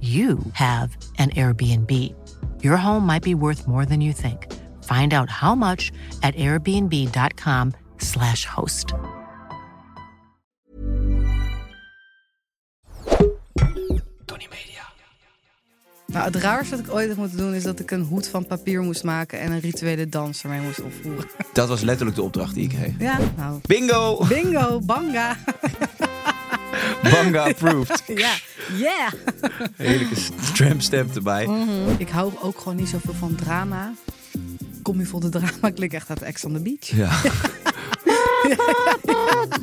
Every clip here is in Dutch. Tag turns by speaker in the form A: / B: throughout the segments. A: you have an Airbnb. Your home might be worth more than you think. Find out how much at airbnb.com/slash host.
B: Nou, het raarste dat ik ooit heb moeten doen is dat ik een hoed van papier moest maken en een rituele dans ermee moest opvoeren.
C: Dat was letterlijk de opdracht die ik kreeg.
B: Ja, nou.
C: Bingo!
B: Bingo, banga.
C: Banga approved.
B: ja, yeah.
C: Heerlijke tramstamp erbij.
B: ik hou ook gewoon niet zoveel van drama. Kom je voor de drama? Ik lig echt uit Ex on the Beach.
C: Ja.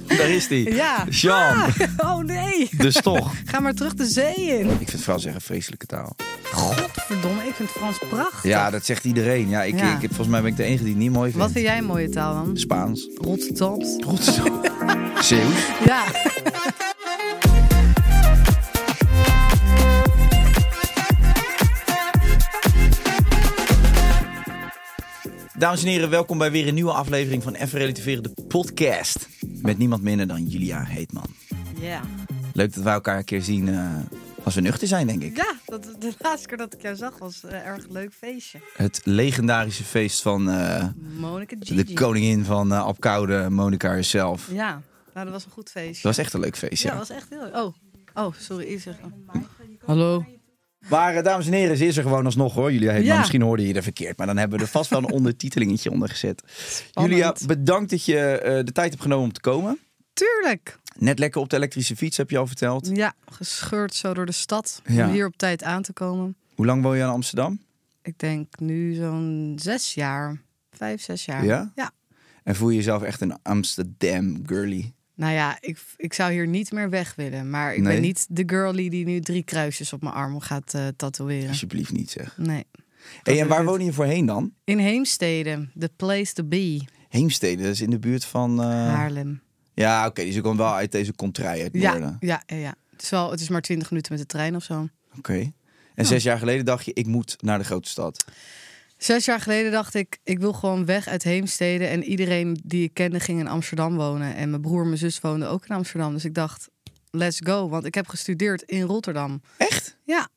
C: Daar is die.
B: Ja.
C: Jean.
B: Ah, oh nee.
C: Dus toch.
B: Ga maar terug de zee in.
C: Ik vind Frans echt een vreselijke taal.
B: Godverdomme, ik vind Frans prachtig.
C: Ja, dat zegt iedereen. Ja, ik,
B: Ja.
C: Ik, volgens mij ben ik de enige die het niet mooi vindt.
B: Wat vind jij een mooie taal dan?
C: Spaans.
B: Rotterdams.
C: Rotterdam. Zeeuws.
B: Ja.
C: Dames en heren, welkom bij weer een nieuwe aflevering van Even Relativeren, de podcast. Met niemand minder dan Julia Heetman.
B: Ja.
C: Leuk dat wij elkaar een keer zien eh, als we nuchter zijn, denk ik.
B: Ja, dat, de laatste keer dat ik jou zag was een erg leuk feestje.
C: Het legendarische feest van eh,
B: Monica Gigi.
C: de koningin van eh Apkoude, Monica herself. Het
B: Ja, nou, dat was een goed feest.
C: was echt een leuk feest,
B: Ja,
C: ja.
B: dat was echt heel Oh, oh sorry, iets zeggen. Hallo.
C: Maar eh, dames en heren, ze is er gewoon alsnog hoor. Julia Heetman,
B: Ja.
C: misschien hoorde je er verkeerd. Maar dan hebben we er vast wel een ondertitelingetje onder gezet. Julia, bedankt dat je eh, de tijd hebt genomen om te komen.
B: Tuurlijk.
C: Net lekker op de elektrische fiets, heb je al verteld.
B: Ja, gescheurd zo door de stad.
C: Ja.
B: Om hier op tijd aan te komen.
C: Hoe lang woon je in Amsterdam?
B: Ik denk nu zo'n zes jaar. Vijf, zes jaar.
C: Ja?
B: Ja.
C: En voel je jezelf echt een Amsterdam girly?
B: Nou ja, ik, ik zou hier niet meer weg willen. Maar ik
C: Nee?
B: ben niet de girlie die nu drie kruisjes op mijn arm gaat eh tatoeëren.
C: Alsjeblieft niet zeg.
B: Nee.
C: Hey, en waar woon je voorheen dan?
B: In Heemstede, the place to be,
C: Heemstede, dat is in de buurt van... eh,
B: Haarlem.
C: Ja, oké, dus ik kom wel uit deze contrij uit
B: Ja,
C: Noorden.
B: ja, ja, ja. Het is, wel, het is maar twintig minuten met de trein of zo.
C: Oké. En zes jaar geleden dacht je, ik moet naar de grote stad.
B: Zes jaar geleden dacht ik, ik wil gewoon weg uit Heemstede. En iedereen die ik kende ging in Amsterdam wonen. En mijn broer en mijn zus woonden ook in Amsterdam. Dus ik dacht, let's go. Want ik heb gestudeerd in Rotterdam.
C: Echt?
B: Ja.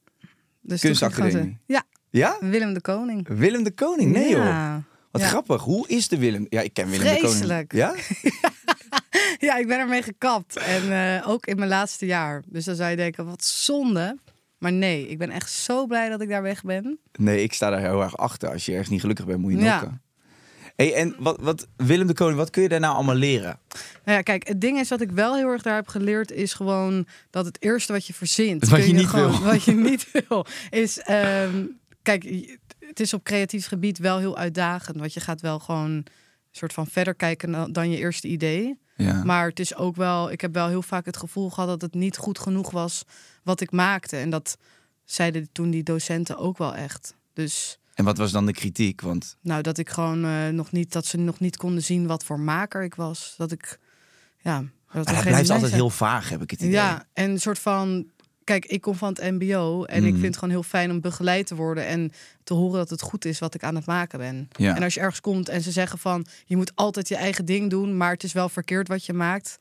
B: Dus toen ging ik gewoon
C: Kunstacademie.
B: te- Ja,
C: Ja?
B: Willem de Koning.
C: Willem de Koning? Nee
B: Ja.
C: joh. Wat
B: Ja.
C: grappig. Hoe is de Willem? Ja, ik ken Willem
B: Vreselijk.
C: de Koning. Ja?
B: Ja, ik ben ermee gekapt. En eh, ook in mijn laatste jaar. Dus dan zou je denken, wat zonde. Maar nee, ik ben echt zo blij dat ik daar weg ben.
C: Nee, ik sta daar heel erg achter. Als je ergens niet gelukkig bent, moet je
B: Ja.
C: nokken. Hey, en wat, wat, Willem de Koning, wat kun je daar nou allemaal leren?
B: Nou ja, kijk, het ding is wat ik wel heel erg daar heb geleerd is gewoon dat het eerste wat je verzint,
C: Wat
B: kun
C: je niet
B: gewoon-
C: wil.
B: wat je niet wil, is ehm, kijk, je- het is op creatief gebied wel heel uitdagend, want je gaat wel gewoon een soort van verder kijken dan- dan je eerste idee.
C: Ja.
B: Maar het is ook wel, ik heb wel heel vaak het gevoel gehad dat het niet goed genoeg was wat ik maakte, en dat zeiden toen die docenten ook wel echt. Dus
C: En wat was dan de kritiek? Want
B: nou, dat ik gewoon eh, nog niet, dat ze nog niet konden zien wat voor maker ik was. Dat ik, ja. Dat
C: dat blijft altijd heel vaag, heb ik het idee.
B: Ja, en een soort van, kijk, ik kom van het MBO en
C: Mhm.
B: ik vind het gewoon heel fijn om begeleid te worden en te horen dat het goed is wat ik aan het maken ben.
C: Ja.
B: En als je ergens komt en ze zeggen van, je moet altijd je eigen ding doen, maar het is wel verkeerd wat je maakt,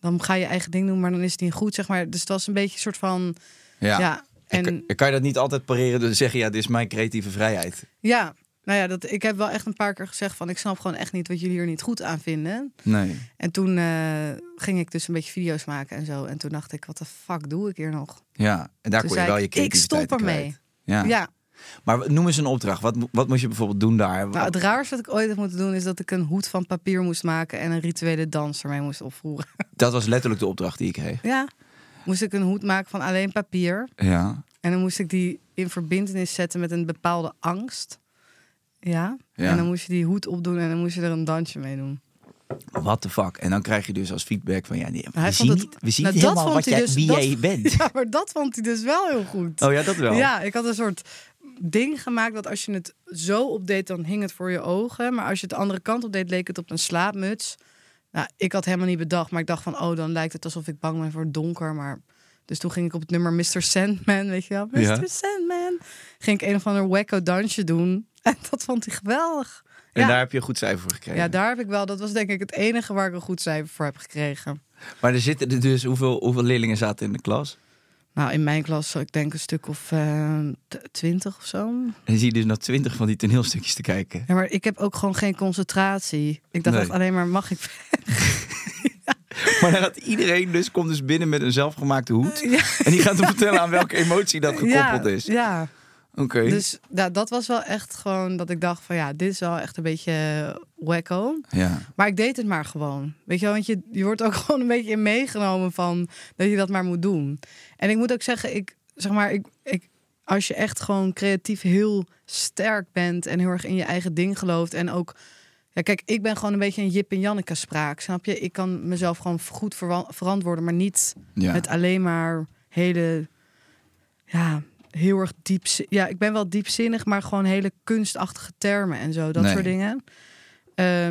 B: dan ga je eigen ding doen, maar dan is het niet goed, zeg maar. Dus het was een beetje een soort van, ja.
C: Ja.
B: en
C: En kan je dat niet altijd pareren door te zeggen, ja, dit is mijn creatieve vrijheid.
B: ja. Nou ja, dat, ik heb wel echt een paar keer gezegd van... ik snap gewoon echt niet wat jullie hier niet goed aan vinden.
C: Nee.
B: En toen eh, ging ik dus een beetje video's maken en zo. En toen dacht ik, wat de fuck doe ik hier nog?
C: Ja, en daar
B: Toen
C: kon je
B: zei
C: wel je
B: ik, ik
C: creativiteit
B: stop ermee.
C: kwijt. Ja.
B: ja,
C: Maar noem eens een opdracht. Wat, mo- wat moest je bijvoorbeeld doen daar?
B: Nou, het raarste wat ik ooit heb moeten doen is dat ik een hoed van papier moest maken en een rituele dans ermee moest opvoeren.
C: Dat was letterlijk de opdracht die ik kreeg.
B: Ja. Moest ik een hoed maken van alleen papier
C: Ja.
B: en dan moest ik die in verbindenis zetten met een bepaalde angst. Ja.
C: Ja.
B: En dan moest je die hoed opdoen en dan moest je er een dansje mee doen.
C: What the fuck? En dan krijg je dus als feedback van ja, nee, we,
B: Hij
C: zien
B: vond het-
C: niet, we zien
B: Nou,
C: niet
B: dat
C: helemaal
B: vond
C: wat
B: hij
C: jij,
B: dus-
C: wie
B: dat-
C: jij bent.
B: Ja, maar dat vond hij dus wel heel goed.
C: Oh ja, dat wel.
B: Ja, ik had een soort ding gemaakt dat als je het zo opdeed, dan hing het voor je ogen. Maar als je het de andere kant op deed, leek het op een slaapmuts. Nou, ik had helemaal niet bedacht, maar ik dacht van, oh, dan lijkt het alsof ik bang ben voor het donker. Maar dus toen ging ik op het nummer Mr. Sandman, weet je wel, Mr.
C: Ja.
B: Sandman. Ging ik een of ander wacko dansje doen. En dat vond hij geweldig.
C: En
B: ja.
C: daar heb je een goed cijfer voor gekregen.
B: ja, daar heb ik wel. Dat was denk ik het enige waar ik een goed cijfer voor heb gekregen.
C: Maar er zitten er dus, hoeveel, hoeveel leerlingen zaten in de klas?
B: Nou, in mijn klas, ik denk een stuk of ehm, twintig of zo.
C: En zie je dus nog twintig van die toneelstukjes te kijken.
B: Ja, maar ik heb ook gewoon geen concentratie. Ik dacht
C: Nee.
B: echt alleen maar, mag ik?
C: Maar dan gaat iedereen dus, komt dus binnen met een zelfgemaakte hoed. En die gaat hem vertellen aan welke emotie dat gekoppeld
B: ja,
C: is.
B: Ja,
C: Oké.
B: dus ja, dat was wel echt gewoon dat ik dacht van ja, dit is wel echt een beetje eh, wacko.
C: Ja.
B: Maar ik deed het maar gewoon. Weet je wel, want je, je wordt ook gewoon een beetje in meegenomen van dat je dat maar moet doen. En ik moet ook zeggen, ik zeg maar, ik, ik, als je echt gewoon creatief heel sterk bent en heel erg in je eigen ding gelooft en ook. Ja, kijk, ik ben gewoon een beetje een Jip en Janneke spraak, snap je? Ik kan mezelf gewoon goed verwa- verantwoorden, maar niet
C: Ja.
B: met alleen maar hele, ja, heel erg diep. Ja, ik ben wel diepzinnig, maar gewoon hele kunstachtige termen en zo, dat
C: Nee.
B: soort dingen. Eh,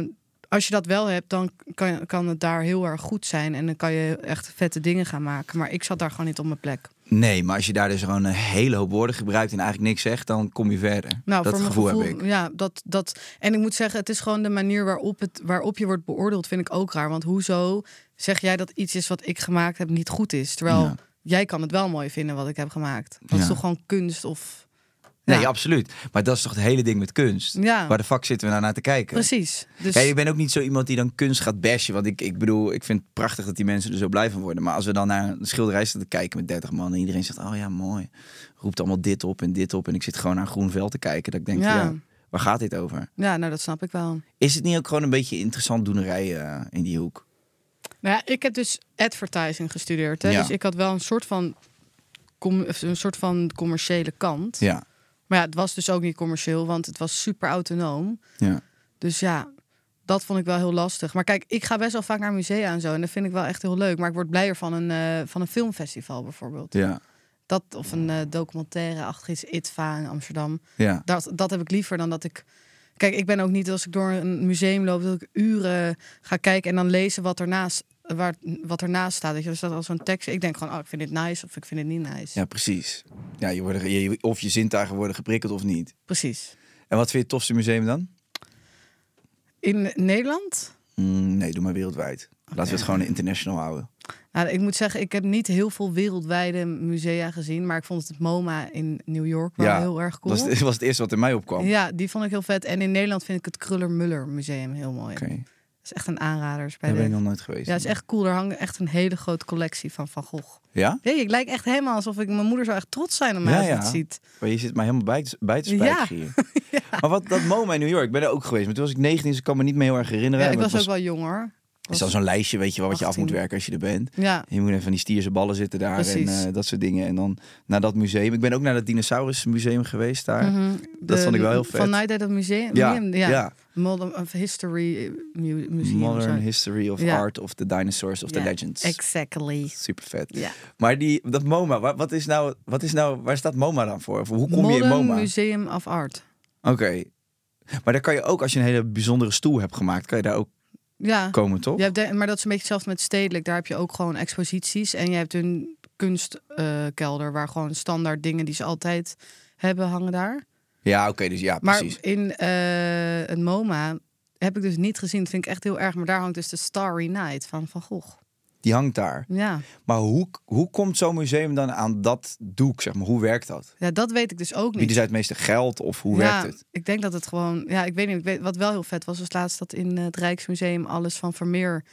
B: als je dat wel hebt, dan kan, kan het daar heel erg goed zijn. En dan kan je echt vette dingen gaan maken. Maar ik zat daar gewoon niet op mijn plek.
C: Nee, maar als je daar dus gewoon een hele hoop woorden gebruikt en eigenlijk niks zegt, dan kom je verder.
B: Nou,
C: dat
B: voor mijn
C: gevoel,
B: gevoel,
C: heb ik.
B: Ja, dat, dat. En ik moet zeggen, het is gewoon de manier waarop, het, waarop je wordt beoordeeld, vind ik ook raar. Want hoezo zeg jij dat iets is wat ik gemaakt heb niet goed is? Terwijl
C: Ja.
B: jij kan het wel mooi vinden wat ik heb gemaakt. Dat
C: Ja.
B: is toch gewoon kunst of...
C: Nee,
B: Ja,
C: absoluut. Maar dat is toch het hele ding met kunst?
B: Ja.
C: Waar de fuck zitten we nou naar te kijken?
B: Precies. Dus,
C: Ja, ik ben ook niet zo iemand die dan kunst gaat bashen. Want ik, ik bedoel, ik vind het prachtig dat die mensen er zo blij van worden. Maar als we dan naar een schilderij zitten te kijken met 30 man en iedereen zegt, oh ja, mooi. Roept allemaal dit op en dit op. En ik zit gewoon naar groen veld te kijken. Dat ik denk, ja.
B: Ja.
C: waar gaat dit over?
B: ja, nou dat snap ik wel.
C: Is het niet ook gewoon een beetje interessant doenerij eh, in die hoek?
B: Nou ja, ik heb dus advertising gestudeerd. Hè?
C: Ja.
B: Dus ik had wel een soort van, com- of een soort van commerciële kant.
C: Ja,
B: Maar ja, het was dus ook niet commercieel, want het was super autonoom.
C: ja.
B: Dus ja, dat vond ik wel heel lastig. Maar kijk, ik ga best wel vaak naar musea en zo. En dat vind ik wel echt heel leuk. Maar ik word blijer van een, eh, van een filmfestival bijvoorbeeld.
C: Ja,
B: Dat, of een eh, documentaire achter iets, ITVA in Amsterdam.
C: ja.
B: Dat, dat heb ik liever dan dat ik... Kijk, ik ben ook niet als ik door een museum loop... dat ik uren ga kijken en dan lezen wat ernaast, waar, wat ernaast staat. Weet je, er staat al zo'n tekst. Ik denk gewoon, oh, ik vind dit nice of ik vind het niet nice.
C: Ja, precies. Ja, je wordt, er- je, of je zintuigen worden geprikkeld of niet.
B: Precies.
C: En wat vind je het tofste museum dan?
B: In Nederland...
C: Mm, nee, doe maar wereldwijd. Laten we het gewoon international houden.
B: Nou, ik moet zeggen, ik heb niet heel veel wereldwijde musea gezien. Maar ik vond het MoMA in New York wel heel erg cool.
C: Dat was, het- was het eerste wat in mij opkwam.
B: Ja, die vond ik heel vet. En in Nederland vind ik het Kruller-Muller Museum heel mooi.
C: Oké,
B: Dat is echt een aanrader. Is bij
C: daar ben
B: de-
C: ik nog nooit geweest.
B: Ja, het is echt cool. Er hangt echt een hele grote collectie van Van Gogh.
C: Ja?
B: Jee, ik lijk echt helemaal alsof ik... Mijn moeder zou echt trots zijn op mij
C: Ja,
B: als ze
C: ja.
B: het ziet.
C: Maar je zit mij helemaal bij te, bij te spijkeren
B: Ja.
C: hier. Maar wat, dat MoMA in New York, ik ben er ook geweest. Maar toen was ik 19, dus ik kan me niet meer heel erg
B: Ja,
C: herinneren.
B: ik
C: Maar
B: was
C: het
B: ook wel jong hoor.
C: Het is al zo'n lijstje, weet je wel, wat je af moet
B: 18.
C: werken als je er bent.
B: Ja.
C: En Je moet even van die stierse ballen zitten daar en
B: Precies.
C: eh, dat soort dingen. En dan naar dat museum. Ik ben ook naar dat dinosaurusmuseum geweest daar. Dat
B: Mhm. De-
C: vond ik wel heel vet.
B: Van Night at the Museum?
C: Ja,
B: ja.
C: ja.
B: Modern of History eh, mu- Museum. of
C: Modern
B: zo.
C: History of
B: Ja.
C: Art of the Dinosaurs of
B: Ja,
C: the Legends.
B: Exactly.
C: Super vet.
B: Ja.
C: Maar die, dat MoMA, wa- wat is, nou, wat is nou, waar staat MoMA dan voor? Of hoe kom je in
B: Modern
C: MoMA? Oké.
B: Museum of Art.
C: Maar daar kan je ook, als je een hele bijzondere stoel hebt gemaakt, kan je daar ook
B: Ja.
C: komen, toch?
B: Je hebt de- maar dat is een beetje hetzelfde met stedelijk. Daar heb je ook gewoon exposities. En je hebt een kunstkelder eh, waar gewoon standaard dingen die ze altijd hebben hangen daar.
C: Ja, oké, dus ja,
B: Maar
C: precies.
B: in eh een MoMA heb ik dus niet gezien. Dat vind ik echt heel erg. Maar daar hangt dus de Starry Night van Van Gogh.
C: Die hangt daar.
B: Ja.
C: Maar hoe, hoe komt zo'n museum dan aan dat doek, zeg maar? Hoe werkt dat?
B: ja, dat weet ik dus ook
C: Bieden
B: niet.
C: zij het meeste geld of hoe
B: ja,
C: werkt het?
B: Ik denk dat het gewoon. Ja, ik weet niet. Ik weet, wat wel heel vet was, was laatst dat in eh, het Rijksmuseum alles van Vermeer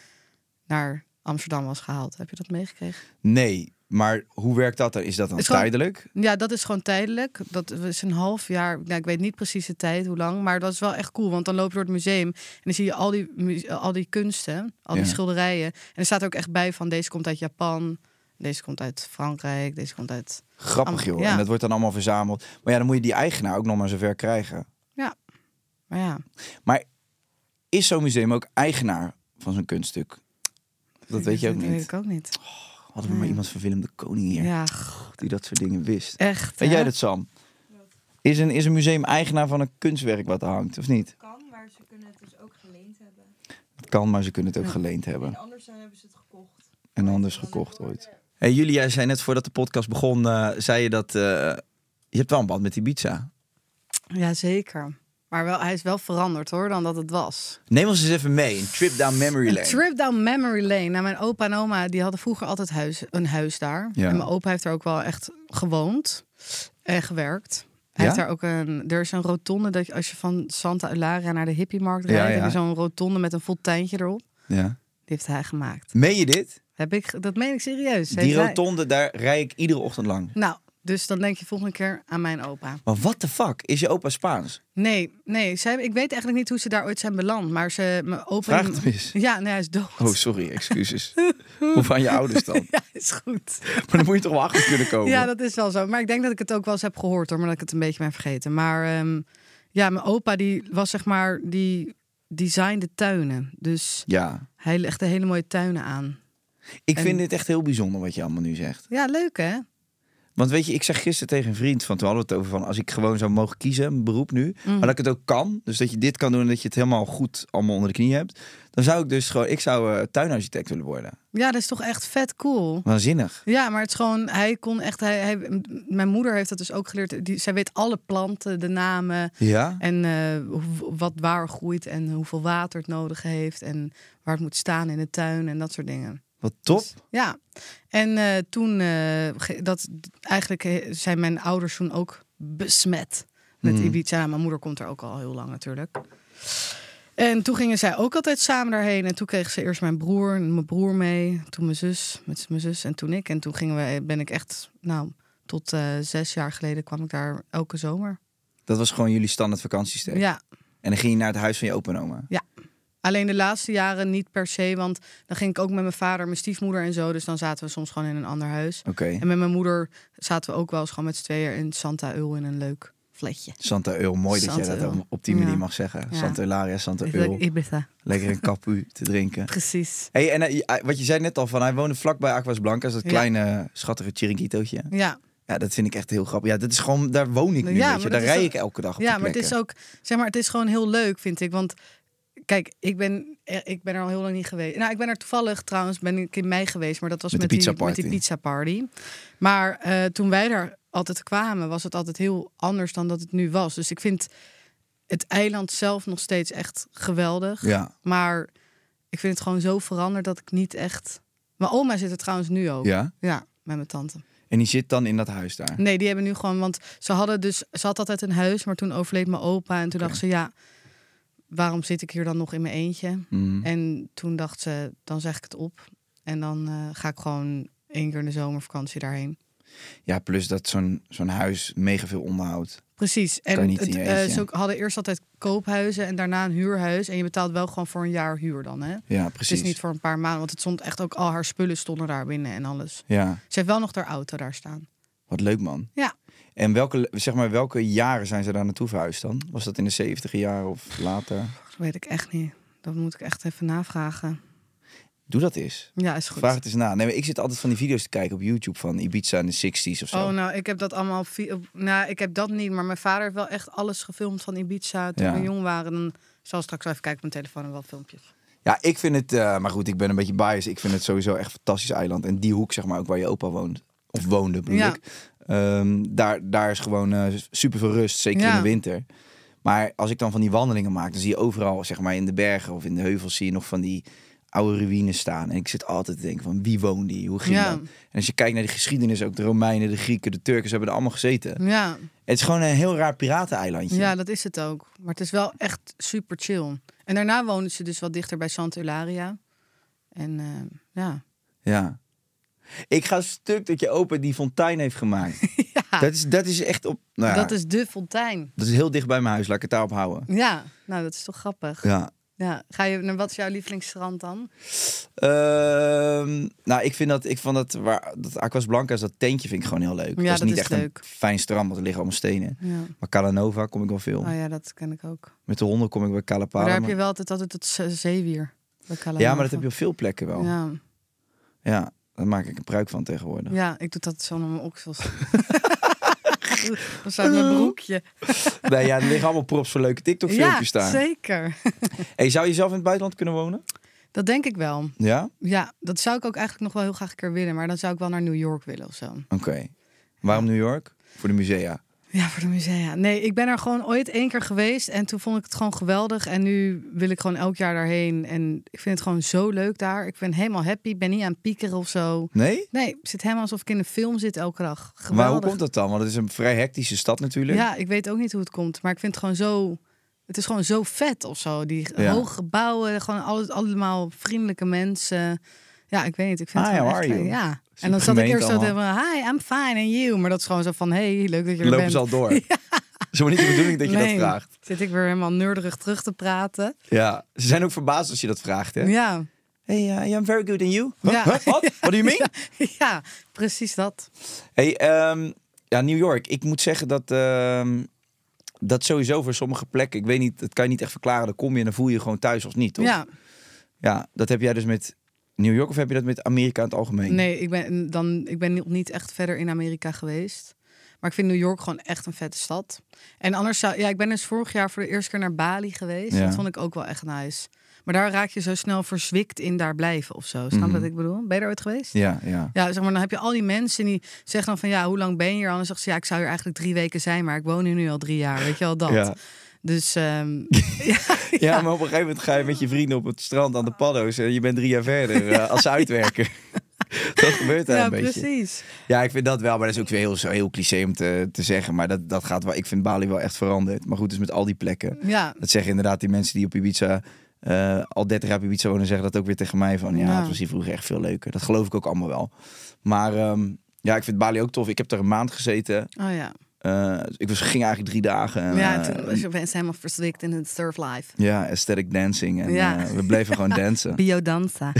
B: naar Amsterdam was gehaald. Heb je dat meegekregen?
C: Nee, maar hoe werkt dat dan? Is dat dan
B: Het is gewoon-
C: tijdelijk?
B: Ja, dat is gewoon tijdelijk. Dat is een half jaar. Nou, ik weet niet precies de tijd, hoe lang. Maar dat is wel echt cool. Want dan loop je door het museum en dan zie je al die, mu- al die kunsten, al die
C: Ja.
B: schilderijen. En er staat ook echt bij van deze komt uit Japan. Deze komt uit Frankrijk, deze komt uit.
C: Grappig joh.
B: Ja.
C: En dat wordt dan allemaal verzameld. Maar ja, dan moet je die eigenaar ook nog maar zover krijgen.
B: Ja, maar ja,
C: Maar is zo'n museum ook eigenaar van zo'n kunststuk? Dat weet je ook
B: dat weet
C: niet.
B: ik ook niet.
C: Hadden we maar iemand van Willem de Koning hier
B: Ja, Eh,
C: die dat soort dingen wist.
B: echt.
C: Weet
B: hè?
C: jij dat, Sam? Is een, is een museum eigenaar van een kunstwerk wat er hangt, of niet?
D: kan, maar ze kunnen het dus ook geleend hebben.
C: Dat kan, maar ze kunnen het ook geleend hebben.
D: En anders dan hebben ze het gekocht.
C: En anders gekocht ooit. Hey, jullie, jij zei net voordat de podcast begon, eh, zei je dat... eh, je hebt wel een band met Ibiza.
B: Ja, zeker. Maar wel, hij is wel veranderd hoor, dan dat het was.
C: Neem ons eens even mee, een trip down memory lane.
B: Een trip down memory lane. Nou, mijn opa en oma die hadden vroeger altijd huis, een huis daar.
C: Ja.
B: En mijn opa heeft er ook wel echt gewoond en gewerkt. Hij
C: Ja?
B: heeft daar ook een, er is een rotonde dat je, als je van Santa Eularia naar de hippiemarkt
C: Ja,
B: rijdt,
C: ja.
B: heb je zo'n rotonde met een fonteintje erop.
C: Ja.
B: Die heeft hij gemaakt.
C: Meen je dit?
B: Heb ik, dat meen ik serieus.
C: Die
B: Heeft hij-
C: rotonde, daar rij ik iedere ochtend lang.
B: Nou, dus dan denk je volgende keer aan mijn opa.
C: Maar what the fuck? Is je opa Spaans?
B: Nee, nee. Zij, ik weet eigenlijk niet hoe ze daar ooit zijn beland. Maar ze, mijn opa...
C: Vraag het hem eens.
B: Ja, nee, hij is dood.
C: Oh, sorry, excuses. Hoe van je ouders dan?
B: Ja, is goed.
C: Maar dan moet je toch wel achter kunnen komen.
B: Ja, dat is wel zo. Maar ik denk dat ik het ook wel eens heb gehoord hoor, maar dat ik het een beetje ben vergeten. Maar ehm, ja, mijn opa die was zeg maar, die designde tuinen. Dus
C: Ja.
B: hij legde hele mooie tuinen aan.
C: Ik vind dit echt heel bijzonder wat je allemaal nu zegt.
B: Ja, leuk hè?
C: Want weet je, ik zeg gisteren tegen een vriend van, toen hadden we het over van, als ik gewoon zou mogen kiezen, een beroep nu, maar dat ik het ook kan, dus dat je dit kan doen en dat je het helemaal goed allemaal onder de knie hebt, dan zou ik dus gewoon, ik zou eh, tuinarchitect willen worden.
B: Ja, dat is toch echt vet cool.
C: Waanzinnig.
B: Ja, maar het is gewoon, hij kon echt, hij, hij- m- mijn moeder heeft dat dus ook geleerd. Die, zij weet alle planten, de namen
C: Ja?
B: en eh, hoe- wat waar groeit en hoeveel water het nodig heeft en waar het moet staan in de tuin en dat soort dingen.
C: Wat top.
B: Ja, en eh, toen, eh, ge- dat, eigenlijk eh, zijn mijn ouders toen ook besmet met Ibiza. Mijn moeder komt er ook al heel lang natuurlijk. En toen gingen zij ook altijd samen daarheen. En toen kreeg ze eerst mijn broer en mijn broer mee. Toen mijn zus, met mijn zus en toen ik. En toen gingen we, ben ik echt, nou, tot eh, zes jaar geleden kwam ik daar elke zomer.
C: Dat was gewoon jullie standaard vakantiestek.
B: Ja,
C: En dan ging je naar het huis van je opa en oma.
B: ja. Alleen de laatste jaren niet per se, want dan ging ik ook met mijn vader, mijn stiefmoeder en zo. Dus dan zaten we soms gewoon in een ander huis.
C: Oké.
B: En met mijn moeder zaten we ook wel eens gewoon met z'n tweeën in Santa Eul in een leuk flatje.
C: Santa Eul, mooi dat
B: Santa
C: jij dat
B: Eul.
C: op die manier
B: Ja.
C: mag zeggen.
B: Ja.
C: Santa Eularia, Santa Eul.
B: Ibiza.
C: Lekker een kapu te drinken.
B: Precies.
C: Hey, en eh, hij- wat je zei net al, van hij woonde vlakbij Aquas Blancas, dat
B: Ja.
C: kleine schattige chiringuitootje.
B: Ja,
C: Ja, dat vind ik echt heel grappig. Ja, dat is gewoon, daar woon ik nu,
B: Ja, maar
C: weet je.
B: dat
C: Daar
B: is
C: rij
B: ook-
C: ik elke dag op
B: ja
C: die
B: maar het is
C: plekken.
B: ook, zeg maar, het is gewoon heel leuk, vind ik. Want kijk, ik ben, eh, ik ben er al heel lang niet geweest. Nou, ik ben er toevallig trouwens, ben ik in mei geweest, maar dat was
C: Met
B: met,
C: de pizza
B: die, met die
C: party.
B: pizza party. Maar eh, toen wij daar altijd kwamen, was het altijd heel anders dan dat het nu was. Dus ik vind het eiland zelf nog steeds echt geweldig.
C: Ja.
B: Maar ik vind het gewoon zo veranderd dat ik niet echt. Mijn oma zit er trouwens nu ook.
C: Ja?
B: Ja, met mijn tante.
C: En die zit dan in dat huis daar.
B: Nee, die hebben nu gewoon. Want ze hadden dus. Ze had altijd een huis, maar toen overleed mijn opa. En toen dacht ze, ja, waarom zit ik hier dan nog in mijn eentje?
C: Mhm.
B: En toen dacht ze, dan zeg ik het op. En dan eh, ga ik gewoon één keer in de zomervakantie daarheen.
C: Ja, plus dat zo'n zo'n huis mega veel onderhoud.
B: Precies.
C: Kan
B: En
C: niet in
B: het,
C: je
B: eh,
C: eentje.
B: ze hadden eerst altijd koophuizen en daarna een huurhuis. En je betaalt wel gewoon voor een jaar huur dan, hè?
C: Ja,
B: Het
C: precies.
B: is niet voor een paar maanden, want het stond echt ook al haar spullen stonden daar binnen en alles.
C: Ja,
B: Ze heeft wel nog haar auto daar staan.
C: wat leuk man.
B: Ja,
C: En welke, zeg maar, welke jaren zijn ze daar naartoe verhuisd dan? Was dat in de 70 jaar of later?
B: dat weet ik echt niet. Dat moet ik echt even navragen.
C: Doe dat eens.
B: Ja, is goed.
C: Vraag het eens na. Nee, maar ik zit altijd van die video's te kijken op YouTube van Ibiza in de 60s of zo.
B: Oh, nou, ik heb dat allemaal. op vi- op- Nou, ik heb dat niet, maar mijn vader heeft wel echt alles gefilmd van Ibiza toen
C: Ja.
B: we jong waren. Dan zal ik straks wel even kijken op mijn telefoon en wat filmpjes.
C: Ja, ik vind het, eh, maar goed, ik ben een beetje biased. Ik vind het sowieso echt een fantastisch eiland. En die hoek, zeg maar, ook waar je opa woont. Of woonde, bedoel
B: Ja.
C: ik. Ehm, daar, daar is gewoon eh, super veel rust, zeker
B: Ja.
C: in de winter. Maar als ik dan van die wandelingen maak, dan zie je overal, zeg maar, in de bergen of in de heuvels, zie je nog van die oude ruïnes staan. En ik zit altijd te denken van wie woonde hier? Hoe ging
B: Ja.
C: dat? En als je kijkt naar de geschiedenis, ook de Romeinen, de Grieken, de Turken, ze hebben er allemaal gezeten.
B: Ja.
C: Het is gewoon een heel raar pirateneilandje.
B: ja, dat is het ook. Maar het is wel echt super chill. En daarna woonden ze dus wat dichter bij Santa Eularia. En eh, ja.
C: Ja. Ik ga stuk dat je opa die fontein heeft gemaakt. dat, is, dat is echt op. Nou ja,
B: dat is de fontein.
C: dat is heel dicht bij mijn huis, laat ik het daarop houden.
B: Ja, nou dat is toch grappig.
C: Ja.
B: Ja. Ga je naar wat is jouw lievelingsstrand dan?
C: Ehm, nou, ik vind dat, ik vond dat, waar, dat Aquas Blancas, dat tentje vind ik gewoon heel leuk.
B: Ja,
C: dat is
B: dat
C: niet
B: is
C: echt
B: leuk.
C: een fijn strand, want er liggen allemaal stenen.
B: Ja.
C: Maar Calanova kom ik wel veel.
B: Oh ja, dat ken ik ook.
C: Met de honden kom ik bij
B: Maar
C: Calapala.
B: daar heb je wel altijd, altijd het ze- zeewier. bij Calabar.
C: Ja, maar dat heb je op veel plekken wel. Ja.
B: Ja.
C: daar maak ik een pruik van tegenwoordig.
B: ja, ik doe dat zo naar mijn oksels. of zo uit mijn broekje.
C: Nee, ja, er liggen allemaal props voor leuke
B: Ja,
C: TikTok-filmpjes staan.
B: zeker.
C: Hey, zou je zelf in het buitenland kunnen wonen?
B: Dat denk ik wel.
C: Ja?
B: Ja, dat zou ik ook eigenlijk nog wel heel graag een keer willen. Maar dan zou ik wel naar New York willen of zo.
C: Oké. Waarom New York? Voor de musea.
B: Ja, voor de musea. Nee, ik ben er gewoon ooit één keer geweest. En toen vond ik het gewoon geweldig. En nu wil ik gewoon elk jaar daarheen. En ik vind het gewoon zo leuk daar. Ik ben helemaal happy. Ik ben niet aan het piekeren of zo.
C: Nee?
B: Nee, ik zit helemaal alsof ik in een film zit elke dag. Geweldig.
C: Maar hoe komt dat dan? Want het is een vrij hectische stad natuurlijk.
B: Ja, ik weet ook niet hoe het komt. Maar ik vind het gewoon zo... Het is gewoon zo vet of zo. Die
C: Ja.
B: hoge gebouwen, gewoon alles, allemaal vriendelijke mensen. Ja, ik weet niet. Ik vind
C: Hi,
B: het gewoon
C: how
B: echt
C: are
B: leuk.
C: you?
B: Ja. En
C: Super
B: dan zat ik
C: gemeen
B: eerst zo te
C: allemaal.
B: van, hi, I'm fine and you. Maar dat is gewoon zo van, hey, leuk dat je er
C: Lopen
B: bent.
C: ze al door. Zo is maar niet de bedoeling dat je
B: Nee.
C: dat vraagt.
B: Zit ik weer helemaal neurderig terug te praten.
C: Ja. Ze zijn ook verbaasd als je dat vraagt, hè?
B: Ja,
C: Hey, uh, I'm very good in you. Huh?
B: Ja.
C: Huh? What? What do you mean?
B: ja precies dat.
C: Hey, ehm, ja, New York. Ik moet zeggen dat ehm, dat sowieso voor sommige plekken, ik weet niet, dat kan je niet echt verklaren. Dan kom je en dan voel je je gewoon thuis of niet, toch?
B: Ja,
C: Ja, dat heb jij dus met New York of heb je dat met Amerika in het algemeen?
B: nee, ik ben, dan, ik ben nog niet echt verder in Amerika geweest. Maar ik vind New York gewoon echt een vette stad. En anders zou... Ja, ik ben dus vorig jaar voor de eerste keer naar Bali geweest.
C: Ja.
B: Dat vond ik ook wel echt nice. Maar daar raak je zo snel verzwikt in daar blijven of zo. Snap je wat ik bedoel? Ben je daar ooit geweest?
C: Mhm. Ja, ja.
B: Ja, zeg maar, dan heb je al die mensen die zeggen dan van ja, hoe lang ben je hier? Anders zegt ze ja, ik zou hier eigenlijk drie weken zijn, maar ik woon hier nu al drie jaar. Weet je wel dat?
C: Ja.
B: Dus ehm,
C: Ja, maar op een gegeven moment ga je met je vrienden op het strand aan de paddo's en je bent drie jaar verder eh, als ze uitwerken. dat gebeurt daar
B: ja,
C: een beetje.
B: precies.
C: Ja, ik vind dat wel, maar dat is ook weer heel, zo heel cliché om te, te zeggen. Maar dat, dat gaat wel, ik vind Bali wel echt veranderd. Maar goed, dus met al die plekken.
B: Ja.
C: Dat zeggen inderdaad die mensen die op Ibiza eh, al 30 jaar op Ibiza wonen, zeggen dat ook weer tegen mij. Van ja,
B: Ja.
C: het was hier vroeger echt veel leuker. Dat geloof ik ook allemaal wel. Maar ehm, ja, ik vind Bali ook tof. Ik heb er een maand gezeten.
B: Oh ja.
C: Eh, ik was, ging eigenlijk drie dagen. En,
B: ja,
C: eh,
B: toen was je opeens helemaal verzwikt in het surf life.
C: ja, aesthetic dancing. En
B: Ja.
C: eh, we bleven gewoon dansen.
B: Biodanza.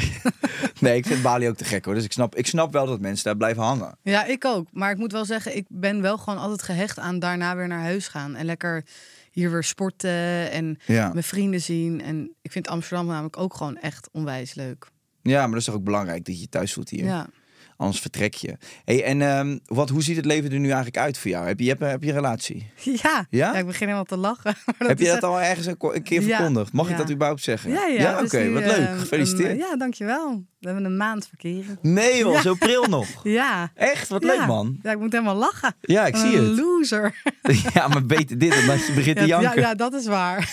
C: Nee, ik vind Bali ook te gek hoor. Dus ik snap, ik snap wel dat mensen daar blijven hangen.
B: ja, ik ook. Maar ik moet wel zeggen, ik ben wel gewoon altijd gehecht aan daarna weer naar huis gaan. En lekker hier weer sporten en
C: Ja.
B: mijn vrienden zien. En ik vind Amsterdam namelijk ook gewoon echt onwijs leuk.
C: Ja, maar dat is toch ook belangrijk dat je je thuis voelt hier.
B: Ja.
C: Anders vertrek je. Hey, en ehm, wat, hoe ziet het leven er nu eigenlijk uit voor jou? Heb je, heb, heb je een relatie?
B: Ja.
C: Ja?
B: ik begin helemaal te lachen. maar
C: heb je
B: is
C: dat
B: echt-
C: al ergens een, ko- een keer
B: Ja,
C: verkondigd? Mag ik
B: ja.
C: dat überhaupt zeggen?
B: Ja, ja.
C: Oké,
B: dus nu,
C: wat leuk.
B: eh,
C: Gefeliciteerd.
B: een- ja, dankjewel. We hebben een maand verkeren.
C: Nee joh, zo pril nog.
B: Ja.
C: Echt? Wat
B: Ja.
C: leuk man.
B: Ja, ik moet helemaal lachen.
C: Ja, ik
B: Wat
C: zie
B: een
C: het.
B: loser.
C: Ja, maar beter dit dan dat je begint te
B: Ja, ja,
C: janken.
B: ja, dat is waar.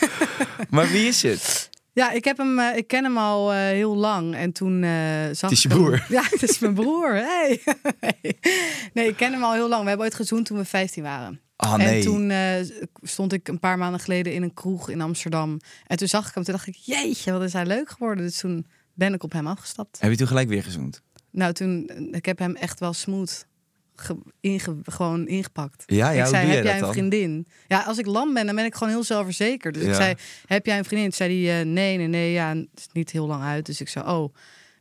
C: Maar wie is het?
B: Ja, ik, heb hem, eh, ik ken hem al eh, heel lang. En toen eh, zag
C: Het is
B: ik hem-
C: je broer.
B: Ja, het is mijn broer. Hey. Nee. nee, ik ken hem al heel lang. We hebben ooit gezoend toen we 15 waren.
C: Ah, nee.
B: En toen eh, stond ik een paar maanden geleden in een kroeg in Amsterdam. En toen zag ik hem. Toen dacht ik, jeetje, wat is hij leuk geworden. Dus toen ben ik op hem afgestapt.
C: Heb je toen gelijk weer gezoend?
B: Nou, toen, ik heb hem echt wel smooth ge- inge- gewoon ingepakt.
C: Ja, ja,
B: ik
C: hoe
B: zei,
C: doe jij
B: heb jij
C: dat
B: een
C: dan?
B: vriendin? Ja, als ik lam ben, dan ben ik gewoon heel zelfverzekerd. Dus
C: Ja.
B: ik zei, heb jij een vriendin? Toen zei hij, eh, nee, nee, nee, ja, het is niet heel lang uit. Dus ik zei, oh,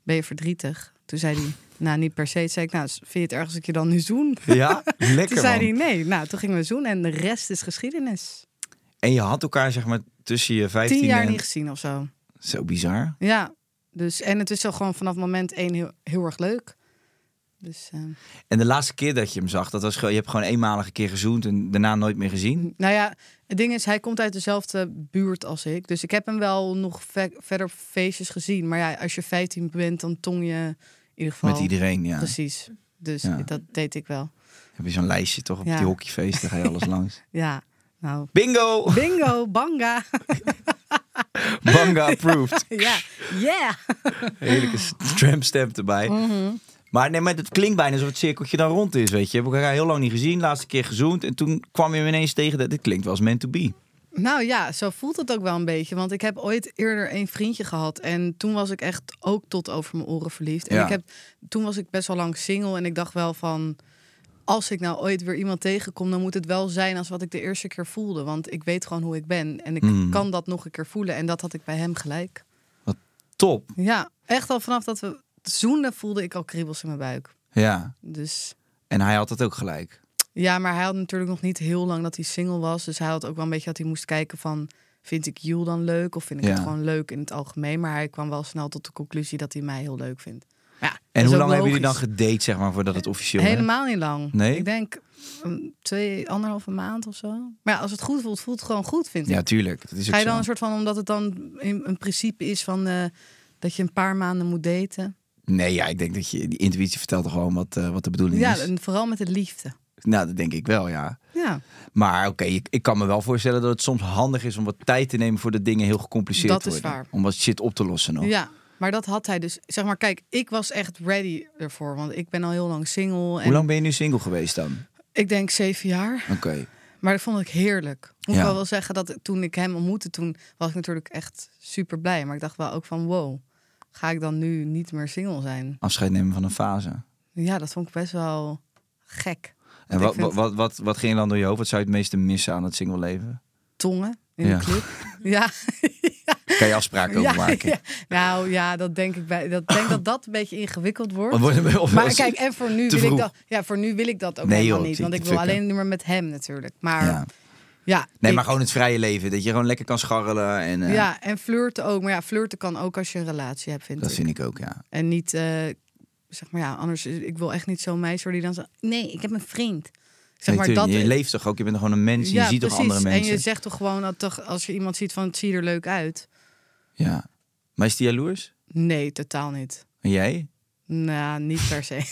B: ben je verdrietig? Toen zei hij, nou, niet per se. Toen zei ik, nou, vind je het erg als ik je dan nu zoen?
C: Ja, lekker
B: toen zei
C: man.
B: hij, nee. Nou, toen gingen we zoenen en de rest is geschiedenis.
C: En je had elkaar zeg maar tussen je 15
B: Tien jaar
C: en...
B: niet gezien of zo.
C: Zo bizar.
B: Ja, dus, en het is al gewoon vanaf moment één heel, heel erg leuk. Dus... eh,
C: En de laatste keer dat je hem zag, dat was gewoon, je hebt gewoon eenmalige keer gezoend en daarna nooit meer gezien.
B: Nou ja, het ding is, hij komt uit dezelfde buurt als ik. Dus ik heb hem wel nog ve- verder op feestjes gezien. Maar ja, als je 15 bent, dan tong je in ieder geval.
C: Met iedereen, ja.
B: Oh, Precies. Dus
C: Ja.
B: dat deed ik wel.
C: Heb je zo'n lijstje toch op
B: Ja.
C: die hockeyfeesten, ga je alles langs.
B: Ja, nou.
C: Bingo!
B: Bingo, banga.
C: Banga approved.
B: Ja, yeah.
C: Heerlijke s- tramstamp erbij.
B: Mhm.
C: Maar, nee, maar het klinkt bijna alsof het cirkeltje dan rond is, weet je. We hebben elkaar heel lang niet gezien, laatste keer gezoend. En toen kwam je me ineens tegen dat dit klinkt wel als meant to be.
B: Nou ja, zo voelt het ook wel een beetje. Want ik heb ooit eerder een vriendje gehad. En toen was ik echt ook tot over mijn oren verliefd. En
C: Ja.
B: ik heb, toen was ik best wel lang single. En ik dacht wel van... Als ik nou ooit weer iemand tegenkom, dan moet het wel zijn als wat ik de eerste keer voelde. Want ik weet gewoon hoe ik ben. En ik kan dat nog een keer voelen. En dat had ik bij hem gelijk.
C: Wat top.
B: Ja, echt al vanaf dat we zoenden voelde ik al kriebels in mijn buik.
C: Ja.
B: Dus
C: En hij had dat ook gelijk.
B: ja, maar hij had natuurlijk nog niet heel lang dat hij single was. Dus hij had ook wel een beetje dat hij moest kijken van... vind ik Jules dan leuk of vind ik het
C: Ja.
B: gewoon leuk in het algemeen? Maar hij kwam wel snel tot de conclusie dat hij mij heel leuk vindt. Maar Ja, dat
C: En
B: is
C: hoe
B: ook
C: lang hebben jullie dan
B: logisch.
C: gedate, zeg maar, voordat het officieel werd?
B: Helemaal niet lang.
C: Nee?
B: Ik denk um, twee, anderhalve maand of zo. Maar ja, als het goed voelt, voelt het gewoon goed, vind ik.
C: Ja, tuurlijk. Dat is ook
B: Ga je
C: zo.
B: dan een soort van, omdat het dan in- een principe is van... eh, dat je een paar maanden moet daten.
C: Nee, ja, ik denk dat je... Die intuïtie vertelt toch gewoon wat, eh, wat de bedoeling
B: Ja,
C: is.
B: en vooral met de liefde.
C: Nou, dat denk ik wel, ja.
B: Ja,
C: Maar oké, ik, ik kan me wel voorstellen dat het soms handig is om wat tijd te nemen voor de dingen heel gecompliceerd
B: Dat
C: te
B: is
C: worden.
B: waar.
C: Om wat shit op te lossen nog.
B: ja. Maar dat had hij dus. Zeg maar, kijk, ik was echt ready ervoor. Want ik ben al heel lang single. En
C: Hoe lang ben je nu single geweest dan?
B: Ik denk zeven jaar.
C: Oké.
B: Maar dat vond ik heerlijk. Moet
C: Ja.
B: ik wel wel zeggen dat ik- toen ik hem ontmoette, toen was ik natuurlijk echt super blij. Maar ik dacht wel ook van wow, ga ik dan nu niet meer single zijn?
C: Afscheid nemen van een fase.
B: Ja, dat vond ik best wel gek.
C: En
B: ik
C: wat,
B: vind-
C: wat, wat, wat, wat ging er dan door je hoofd? Wat zou je het meeste missen aan het single leven?
B: Tongen in
C: Ja.
B: de clip. Ja.
C: Kan je afspraken
B: ja,
C: over maken?
B: ja. Nou ja, dat denk ik bij. Dat denk dat dat een beetje ingewikkeld wordt.
C: Wat worden we- of
B: Maar
C: als-
B: kijk, en voor nu,
C: te
B: wil ik
C: vroeg.
B: dat, ja, voor nu wil ik dat ook
C: Nee,
B: helemaal
C: joh,
B: niet.
C: die-
B: Want ik
C: die
B: wil
C: fucken.
B: alleen nu maar met hem natuurlijk. Maar
C: Ja.
B: ja,
C: Nee,
B: ik-
C: maar gewoon het vrije leven. Dat je gewoon lekker kan scharrelen. En, eh,
B: Ja, en flirten ook. Maar ja, flirten kan ook als je een relatie hebt, vind
C: Dat
B: ik.
C: vind ik ook, ja.
B: En niet, eh, zeg maar ja, anders... Ik wil echt niet zo'n meisje worden die dan zegt... Nee, ik heb een vriend. Zeg maar
C: Nee,
B: dat...
C: tuurlijk, je leeft toch ook? Je bent toch gewoon een mens?
B: ja,
C: je ziet toch
B: precies.
C: andere mensen?
B: En je zegt toch gewoon, dat toch, als je iemand ziet van... Het ziet er leuk uit.
C: Ja. Maar is die jaloers?
B: Nee, totaal niet.
C: En jij?
B: Nou, niet per se.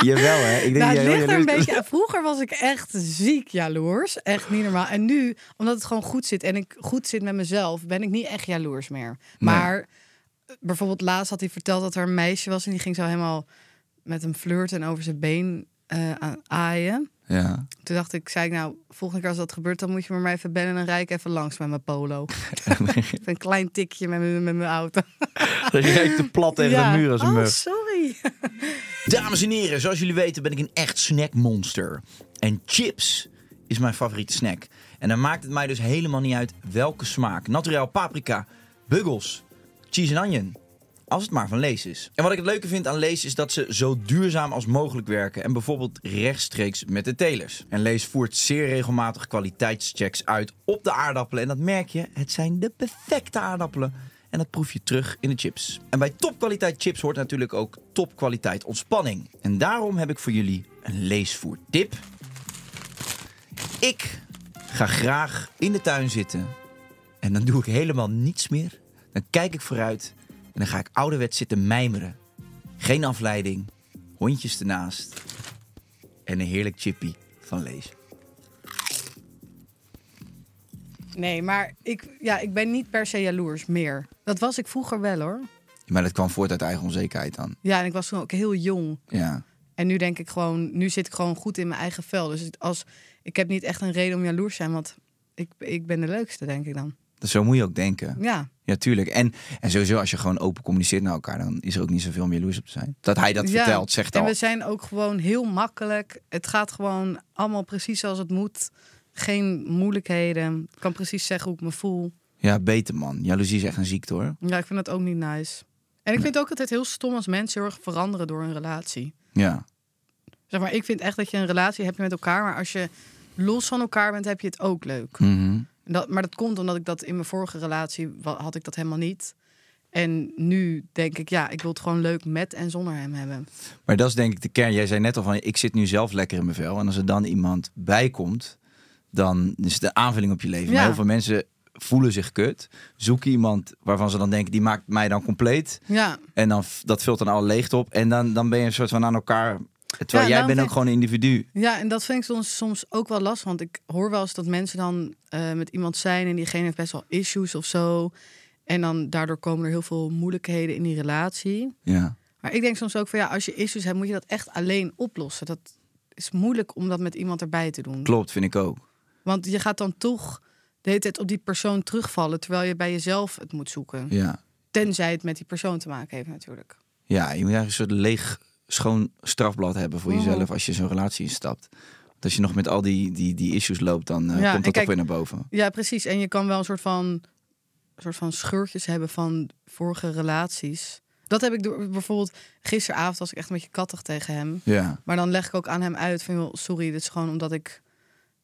C: Jawel, hè? Ik denk
B: nou,
C: dat jij
B: het
C: heel
B: ligt er een
C: jaloers bent.
B: beetje... Vroeger was ik echt ziek jaloers. Echt niet normaal. En nu, omdat het gewoon goed zit en ik goed zit met mezelf... ben ik niet echt jaloers meer. Maar eh, bijvoorbeeld laatst had hij verteld dat er een meisje was... en die ging zo helemaal met hem flirten en over zijn been eh, aan aaien.
C: Ja.
B: Toen dacht ik, zei ik nou, volgende keer als dat gebeurt... dan moet je me maar even bellen en dan rij ik even langs met mijn polo. Even een klein tikje met mijn, met mijn auto.
C: Dat je kijkt te plat tegen
B: Ja.
C: de muur als een
B: oh,
C: muf.
B: sorry.
C: Dames en heren, zoals jullie weten ben ik een echt snackmonster. En chips is mijn favoriete snack. En dan maakt het mij dus helemaal niet uit welke smaak. Naturel paprika, buggles, cheese en onion. Als het maar van Lees is. En wat ik het leuke vind aan Lees is dat ze zo duurzaam als mogelijk werken. En bijvoorbeeld rechtstreeks met de telers. En Lees voert zeer regelmatig kwaliteitschecks uit op de aardappelen. En dat merk je, het zijn de perfecte aardappelen. En dat proef je terug in de chips. En bij topkwaliteit chips hoort natuurlijk ook topkwaliteit ontspanning. En daarom heb ik voor jullie een leesvoertip. Ik ga graag in de tuin zitten. En dan doe ik helemaal niets meer. Dan kijk ik vooruit. En dan ga ik ouderwets zitten mijmeren. Geen afleiding. Hondjes ernaast. En een heerlijk chippy van lees.
B: Nee, maar ik, ja, ik ben niet per se jaloers meer. Dat was ik vroeger wel, hoor.
C: Maar dat kwam voort uit eigen onzekerheid dan.
B: Ja, en ik was toen ook heel jong.
C: Ja.
B: En nu denk ik gewoon, nu zit ik gewoon goed in mijn eigen vel. Dus het- als, ik heb niet echt een reden om jaloers te zijn, want ik, ik ben de leukste, denk ik dan.
C: Dus Zo moet je ook denken.
B: Ja,
C: Ja, tuurlijk. En, en sowieso, als je gewoon open communiceert naar elkaar, dan is er ook niet zoveel om jaloers op te zijn. Dat hij dat
B: Ja.
C: vertelt, zegt
B: En
C: al.
B: we zijn ook gewoon heel makkelijk. Het gaat gewoon allemaal precies zoals het moet. Geen moeilijkheden. Ik kan precies zeggen hoe ik me voel.
C: Ja, beter man. Jaloezie is echt een ziekte hoor.
B: Ja, ik vind dat ook niet nice. En ik vind het ook altijd heel stom als mensen heel erg veranderen door een relatie.
C: Ja.
B: Zeg maar, ik vind echt dat je een relatie hebt met elkaar. Maar als je los van elkaar bent, heb je het ook leuk.
C: Mhm.
B: En Dat, maar dat komt omdat ik dat in mijn vorige relatie wa- had ik dat helemaal niet. En nu denk ik, ja, ik wil het gewoon leuk met en zonder hem hebben.
C: Maar dat is denk ik de kern. Jij zei net al van, ik zit nu zelf lekker in mijn vel. En als er dan iemand bij komt, dan is het een aanvulling op je leven. Maar
B: Ja.
C: heel veel mensen voelen zich kut. Zoeken iemand waarvan ze dan denken, die maakt mij dan compleet.
B: Ja,
C: En dan, f- dat vult dan alle leegte op. En dan, dan ben je een soort van aan elkaar Terwijl jij
B: daarom
C: bent ook
B: vind-
C: gewoon een individu.
B: Ja, en dat vind ik soms, soms ook wel lastig. Want ik hoor wel eens dat mensen dan eh, met iemand zijn en diegene heeft best wel issues of zo. En dan daardoor komen er heel veel moeilijkheden in die relatie.
C: Ja.
B: Maar ik denk soms ook van ja, als je issues hebt, moet je dat echt alleen oplossen. Dat is moeilijk om dat met iemand erbij te doen.
C: Klopt, vind ik ook.
B: Want je gaat dan toch de hele tijd op die persoon terugvallen, terwijl je bij jezelf het moet zoeken.
C: Ja.
B: Tenzij het met die persoon te maken heeft natuurlijk.
C: Ja, je moet eigenlijk een soort leeg, schoon strafblad hebben
B: Mhm.
C: voor jezelf als je zo'n relatie instapt. Want als je nog met al die, die, die issues loopt, dan eh,
B: Ja, en
C: komt dat
B: kijk-
C: toch weer naar boven.
B: Ja, precies. En je kan wel een soort van, soort van scheurtjes hebben van vorige relaties. Dat heb ik door, bijvoorbeeld gisteravond was ik echt een beetje kattig tegen hem.
C: Ja.
B: Maar dan leg ik ook aan hem uit van, joh, sorry, dit is gewoon omdat ik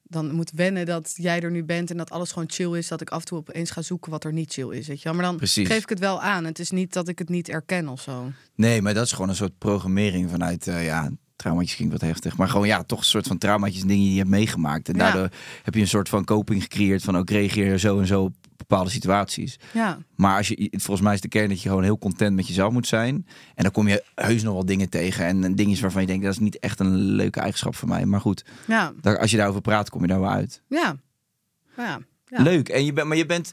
B: dan moet wennen dat jij er nu bent en dat alles gewoon chill is. Dat ik af en toe opeens ga zoeken wat er niet chill is, weet je wel. Maar dan
C: Precies.
B: geef ik het wel aan. Het is niet dat ik het niet erken of zo.
C: Nee, maar dat is gewoon een soort programmering vanuit, eh, ja, traumaatjes klinkt wat heftig. Maar gewoon, ja, toch een soort van traumaatjes, dingen die je hebt meegemaakt. En
B: Ja.
C: daardoor heb je een soort van coping gecreëerd van, ook reageer zo en zo op bepaalde situaties.
B: Ja,
C: Maar als je, volgens mij is de kern dat je gewoon heel content met jezelf moet zijn. En dan kom je heus nog wel dingen tegen. En dingetjes waarvan je denkt, dat is niet echt een leuke eigenschap van mij. Maar goed,
B: ja,
C: daar, als je daarover praat, kom je daar wel uit.
B: ja. ja, ja.
C: Leuk. En je bent, maar je bent,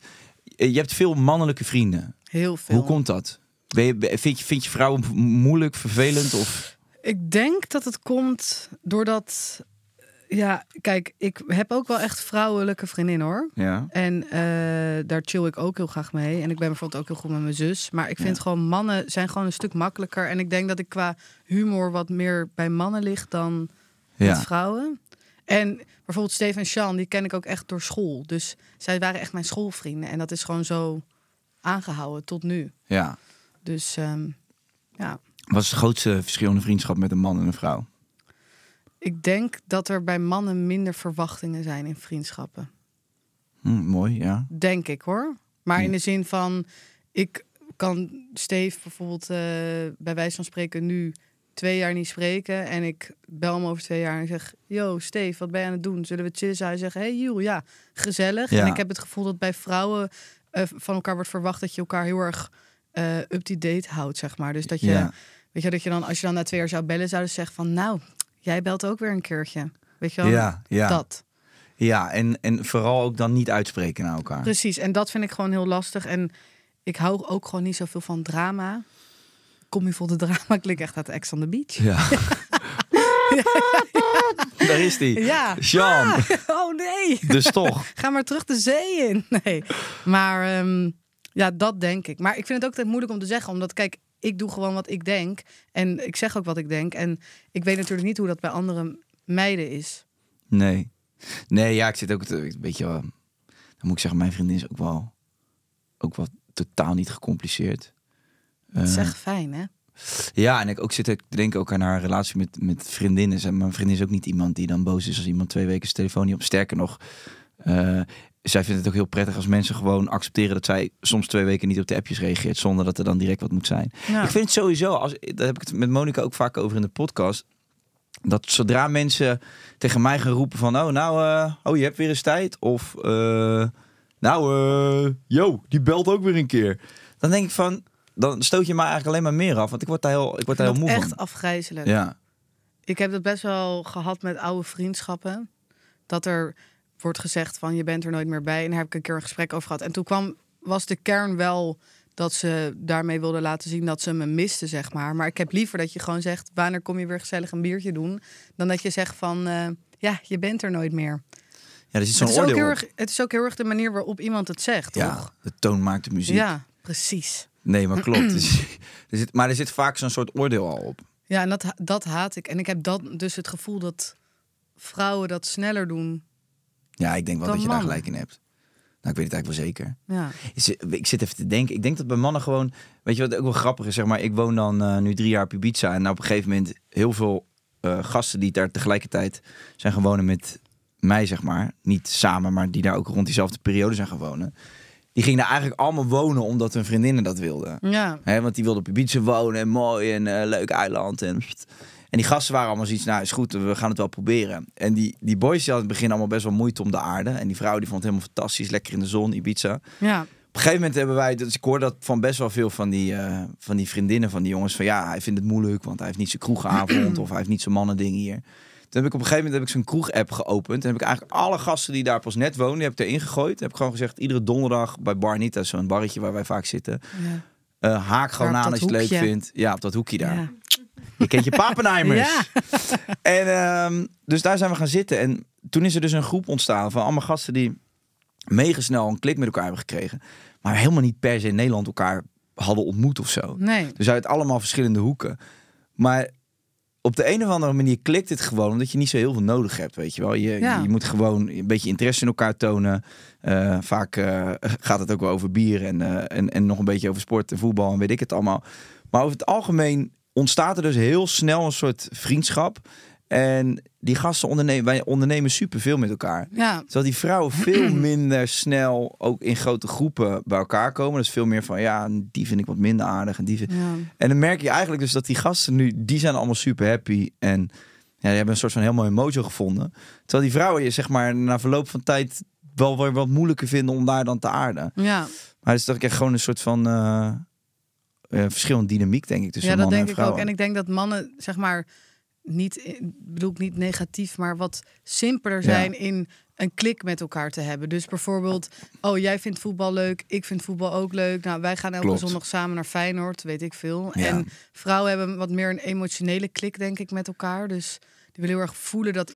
C: eh, je hebt veel mannelijke vrienden.
B: Heel veel.
C: Hoe komt dat? Ben je, ben- vind, je, vind je vrouwen mo- moeilijk, vervelend? Of...
B: Ik denk dat het komt doordat. eh, Ja, kijk, ik heb ook wel echt vrouwelijke vriendinnen hoor.
C: Ja.
B: En eh, daar chill ik ook heel graag mee. En ik ben bijvoorbeeld ook heel goed met mijn zus. Maar ik vind gewoon mannen zijn gewoon een stuk makkelijker. En ik denk dat ik qua humor wat meer bij mannen ligt dan met
C: Ja.
B: vrouwen. En bijvoorbeeld Steve en Sean, die ken ik ook echt door school. Dus zij waren echt mijn schoolvrienden. En dat is gewoon zo aangehouden tot nu.
C: ja.
B: Dus ehm, ja.
C: Wat is het grootste verschil in een vriendschap met een man en een vrouw?
B: Ik denk dat er bij mannen minder verwachtingen zijn in vriendschappen.
C: Hm, mooi, ja.
B: Denk ik hoor. Maar in de zin van, ik kan Steve bijvoorbeeld eh, bij wijze van spreken nu twee jaar niet spreken. En ik bel hem over twee jaar en ik zeg, yo Steve, wat ben je aan het doen? Zullen we chillen? Zou hij zeggen, hey Jules, ja, gezellig.
C: Ja.
B: En ik heb het gevoel dat bij vrouwen eh, van elkaar wordt verwacht dat je elkaar heel erg eh, up-to-date houdt, zeg maar. Dus dat je,
C: Ja.
B: weet je, dat je dan, als je dan na twee jaar zou bellen, zouden ze zeggen van, nou, jij belt ook weer een keertje. Weet je wel,
C: Ja, ja.
B: dat.
C: Ja, en, en vooral ook dan niet uitspreken naar elkaar.
B: Precies, en dat vind ik gewoon heel lastig. En ik hou ook gewoon niet zoveel van drama. Kom je voor de drama? Ik lig echt uit Ex on the Beach.
C: Ja. Daar is die.
B: Ja.
C: Sean.
B: Ah, oh nee.
C: Dus toch.
B: Ga maar terug de zee in. Nee. Maar ehm, ja, dat denk ik. Maar ik vind het ook altijd moeilijk om te zeggen. Omdat, kijk, ik doe gewoon wat ik denk. En ik zeg ook wat ik denk. En ik weet natuurlijk niet hoe dat bij andere meiden is.
C: Nee. Nee, ja, ik zit ook te- een beetje... eh, Dan moet ik zeggen, mijn vriendin is ook wel... Ook wel totaal niet gecompliceerd.
B: Dat is echt fijn, hè?
C: Ja, en ik ook zit te denken ook aan haar relatie met, met vriendinnen. Zij- Mijn vriendin is ook niet iemand die dan boos is als iemand twee weken zijn telefoon niet op. Sterker nog, eh, zij vindt het ook heel prettig als mensen gewoon accepteren dat zij soms twee weken niet op de appjes reageert. Zonder dat er dan direct wat moet zijn.
B: Ja.
C: Ik vind het sowieso, als, daar heb ik het met Monica ook vaak over in de podcast. Dat zodra mensen tegen mij gaan roepen van, oh nou, eh, oh je hebt weer eens tijd. Of, eh, nou, eh, yo, die belt ook weer een keer. Dan denk ik van, dan stoot je mij eigenlijk alleen maar meer af. Want ik word daar heel, ik word daar
B: Dat
C: heel moe
B: echt
C: van.
B: afgrijzelijk.
C: Ja,
B: Ik heb dat best wel gehad met oude vriendschappen. Dat er wordt gezegd van je bent er nooit meer bij. En daar heb ik een keer een gesprek over gehad. En toen kwam, was de kern wel dat ze daarmee wilden laten zien dat ze me misten, zeg maar. Maar ik heb liever dat je gewoon zegt... wanneer kom je weer gezellig een biertje doen? Dan dat je zegt van, eh, ja, je bent er nooit meer.
C: ja er zit
B: Het
C: zo'n
B: is, ook
C: oordeel
B: heel
C: op.
B: erg, het is ook heel erg de manier waarop iemand het zegt,
C: Ja,
B: toch?
C: de toon maakt de muziek.
B: Ja, precies.
C: Nee, maar klopt. Dus, er zit, maar er zit vaak zo'n soort oordeel al op.
B: Ja, en dat, ha- dat haat ik. En ik heb dat, dus het gevoel dat vrouwen dat sneller doen.
C: Ja, ik denk wel
B: Dan
C: dat je daar
B: mannen.
C: gelijk in hebt. Nou, ik weet het eigenlijk wel zeker.
B: Ja.
C: Ik zit- Ik zit even te denken. Ik denk dat bij mannen gewoon... Weet je wat ook wel grappig is? Zeg maar, ik woon dan eh, nu drie jaar op Ibiza. En nou op een gegeven moment heel veel eh, gasten die daar tegelijkertijd zijn gaan wonen met mij, zeg maar. Niet samen, maar die daar ook rond diezelfde periode zijn gaan wonen. Die gingen daar eigenlijk allemaal wonen omdat hun vriendinnen dat wilden.
B: Ja.
C: Hè, want die wilde op Ibiza wonen en mooi en eh, leuk eiland. En, en die gasten waren allemaal zoiets, nou is goed, we gaan het wel proberen. En die, die boys die hadden in het begin allemaal best wel moeite om de aarde. En die vrouw die vond het helemaal fantastisch, lekker in de zon, Ibiza. Op
B: ja.
C: een een gegeven moment hebben wij, dus ik hoor dat van best wel veel van die, eh, van die vriendinnen van die jongens. Van ja, hij vindt het moeilijk, want hij heeft niet zijn kroegavond of hij heeft niet zijn mannending hier. Toen heb ik op een gegeven moment heb ik zo'n kroeg-app geopend. En heb ik eigenlijk alle gasten die daar pas net woonden, heb ik erin gegooid. Heb ik gewoon gezegd, iedere donderdag bij Barnita, zo'n barretje waar wij vaak zitten. eh, haak gewoon
B: Daar op
C: aan als
B: dat
C: je het leuk
B: hoekje.
C: vindt. Ja, op dat hoekje daar.
B: Ja.
C: Je kent je Papenheimers.
B: Ja.
C: En ehm, dus daar zijn we gaan zitten. En toen is er dus een groep ontstaan van allemaal gasten die mega snel een klik met elkaar hebben gekregen. Maar helemaal niet per se in Nederland elkaar hadden ontmoet of zo.
B: Nee.
C: Dus uit allemaal verschillende hoeken. Maar op de een of andere manier klikt het gewoon omdat je niet zo heel veel nodig hebt, weet je wel. Je,
B: Ja.
C: je moet gewoon een beetje interesse in elkaar tonen. Eh, vaak eh, gaat het ook wel over bier en, eh, en, en nog een beetje over sport en voetbal en weet ik het allemaal. Maar over het algemeen ontstaat er dus heel snel een soort vriendschap. En die gasten ondernemen, wij ondernemen superveel met elkaar.
B: Ja.
C: Terwijl die vrouwen veel minder snel ook in grote groepen bij elkaar komen. Dus veel meer van ja, die vind ik wat minder aardig. En, die vind-
B: Ja.
C: en dan merk je eigenlijk dus dat die gasten nu, die zijn allemaal super happy. En ja, die hebben een soort van heel mooi mojo gevonden. Terwijl die vrouwen je zeg maar na verloop van tijd wel weer wat moeilijker vinden om daar dan te aarden.
B: Ja.
C: Maar het is toch echt gewoon een soort van eh, eh, verschillende dynamiek, denk ik, tussen
B: ja, dat
C: mannen
B: denk ik
C: en vrouwen.
B: ook. En ik denk dat mannen, zeg maar, niet, bedoel ik niet negatief, maar wat simpeler zijn in een klik met elkaar te hebben. Dus bijvoorbeeld, oh jij vindt voetbal leuk, ik vind voetbal ook leuk. Nou, wij gaan elke
C: Klopt.
B: zondag samen naar Feyenoord, weet ik veel.
C: Ja.
B: En vrouwen hebben wat meer een emotionele klik, denk ik, met elkaar. Dus die willen heel erg voelen dat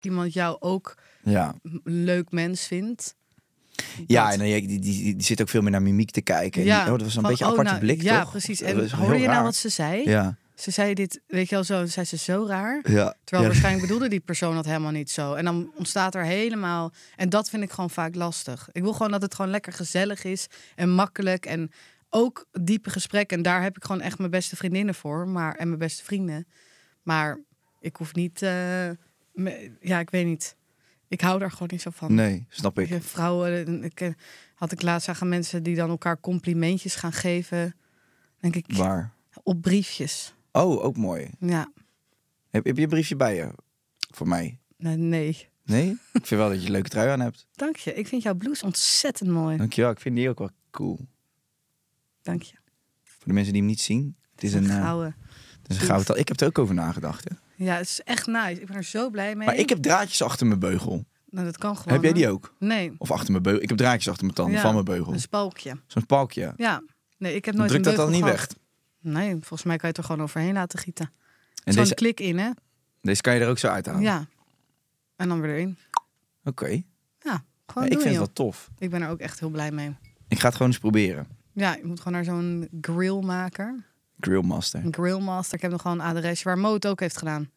B: iemand jou ook
C: Ja.
B: een leuk mens vindt.
C: Ja,
B: Dat-
C: en dan, die, die, die, die zit ook veel meer naar mimiek te kijken. En
B: Ja,
C: die- oh, dat was een
B: van,
C: beetje een
B: oh,
C: aparte
B: nou,
C: blik,
B: Ja,
C: toch?
B: precies.
C: Dat
B: En
C: was
B: hoorde
C: heel
B: je nou
C: raar.
B: wat ze zei?
C: Ja,
B: Ze zei dit, weet je wel, zo, zei ze zo raar.
C: ja.
B: Terwijl
C: ja.
B: waarschijnlijk bedoelde die persoon dat helemaal niet zo. En dan ontstaat er helemaal. En dat vind ik gewoon vaak lastig. Ik wil gewoon dat het gewoon lekker gezellig is en makkelijk. En ook diepe gesprekken. En daar heb ik gewoon echt mijn beste vriendinnen voor. Maar, en mijn beste vrienden. Maar ik hoef niet. eh, me- ja, ik weet niet. Ik hou daar gewoon niet zo van.
C: Nee, snap ik.
B: Ik, vrouwen, eh, ik eh, had ik laatst aan mensen die dan elkaar complimentjes gaan geven. Denk ik,
C: Waar?
B: op briefjes.
C: Oh, ook mooi.
B: Ja,
C: Heb, heb je een briefje bij je? Voor mij?
B: nee, nee.
C: Nee? ik vind wel dat je een leuke trui aan hebt.
B: Dank je. Ik vind jouw blouse ontzettend mooi.
C: Dankjewel, ik vind die ook wel cool.
B: Dank je.
C: Voor de mensen die hem niet zien. Het is een, eh,
B: gouden.
C: het is een gouden tal. Ik heb er ook over nagedacht. Hè.
B: Ja, het is echt nice. Ik ben er zo blij mee.
C: Maar ik heb draadjes achter mijn beugel.
B: nou, dat kan gewoon.
C: heb jij die
B: hoor.
C: ook?
B: Nee.
C: Of achter mijn beugel. Ik heb draadjes achter mijn tanden
B: Ja, Dus
C: van mijn beugel.
B: Een spalkje.
C: Zo'n palkje.
B: Ja. Nee, ik heb
C: Dan
B: nooit
C: druk
B: een
C: dat dan niet
B: beugel
C: weg.
B: gehad. Nee, volgens mij kan je het er gewoon overheen laten gieten.
C: En
B: Zo'n
C: deze, Oh.
B: klik in, hè?
C: deze kan je er ook zo uithalen.
B: Ja. En dan weer erin.
C: Oké.
B: Ja,
C: Ja,
B: gewoon
C: ik
B: doen,
C: vind het
B: joh.
C: wel tof.
B: Ik ben er ook echt heel blij mee.
C: Ik ga het gewoon eens proberen.
B: Ja, je moet gewoon naar zo'n grillmaker.
C: Grillmaster.
B: Een grillmaster. Ik heb nog gewoon een adresje waar Mo het ook heeft gedaan.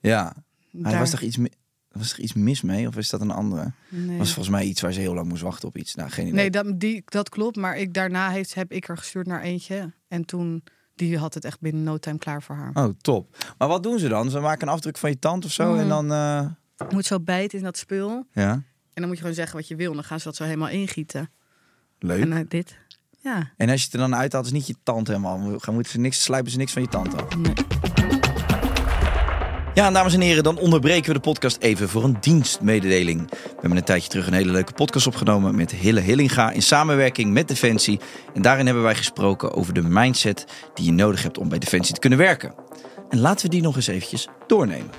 C: Ja. Maar er
B: Daar.
C: was toch, iets mi- er was toch iets mis mee? Of is dat een andere?
B: Nee.
C: was volgens mij iets waar ze heel lang moest wachten op iets. Nou, geen idee.
B: Nee, dat, die, dat klopt. Maar ik, daarna heeft, heb ik er gestuurd naar eentje. En toen, die had het echt binnen no time klaar voor haar.
C: Oh, top. Maar wat doen ze dan? Ze maken een afdruk van je tand of
B: Mm.
C: zo en dan... eh,
B: Je moet zo bijten in dat spul.
C: Ja,
B: En dan moet je gewoon zeggen wat je wil. En dan gaan ze dat zo helemaal ingieten.
C: leuk.
B: En
C: En,
B: eh, dit. Ja.
C: als je het er dan uithaalt, is niet je tand helemaal. We gaan- Moeten ze niks, slijpen ze niks van je tand af.
B: Nee.
C: Ja, en dames en heren, dan onderbreken we de podcast even voor een dienstmededeling. We hebben een tijdje terug een hele leuke podcast opgenomen met Hille Hillinga in samenwerking met Defensie. En daarin hebben wij gesproken over de mindset die je nodig hebt om bij Defensie te kunnen werken. En laten we die nog eens eventjes doornemen.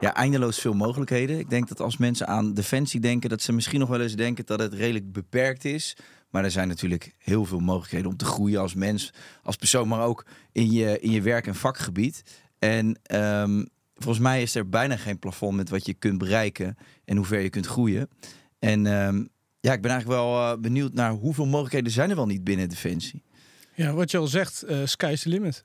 C: Ja, eindeloos veel mogelijkheden. Ik denk dat als mensen aan defensie denken, dat ze misschien nog wel eens denken dat het redelijk beperkt is. Maar er zijn natuurlijk heel veel mogelijkheden om te groeien als mens, als persoon, maar ook in je, in je werk- en vakgebied. En ehm, volgens mij is er bijna geen plafond met wat je kunt bereiken en hoe ver je kunt groeien. En ehm, ja, ik ben eigenlijk wel eh, benieuwd naar hoeveel mogelijkheden zijn er wel niet binnen defensie.
E: Ja, wat je al zegt, eh sky's the limit.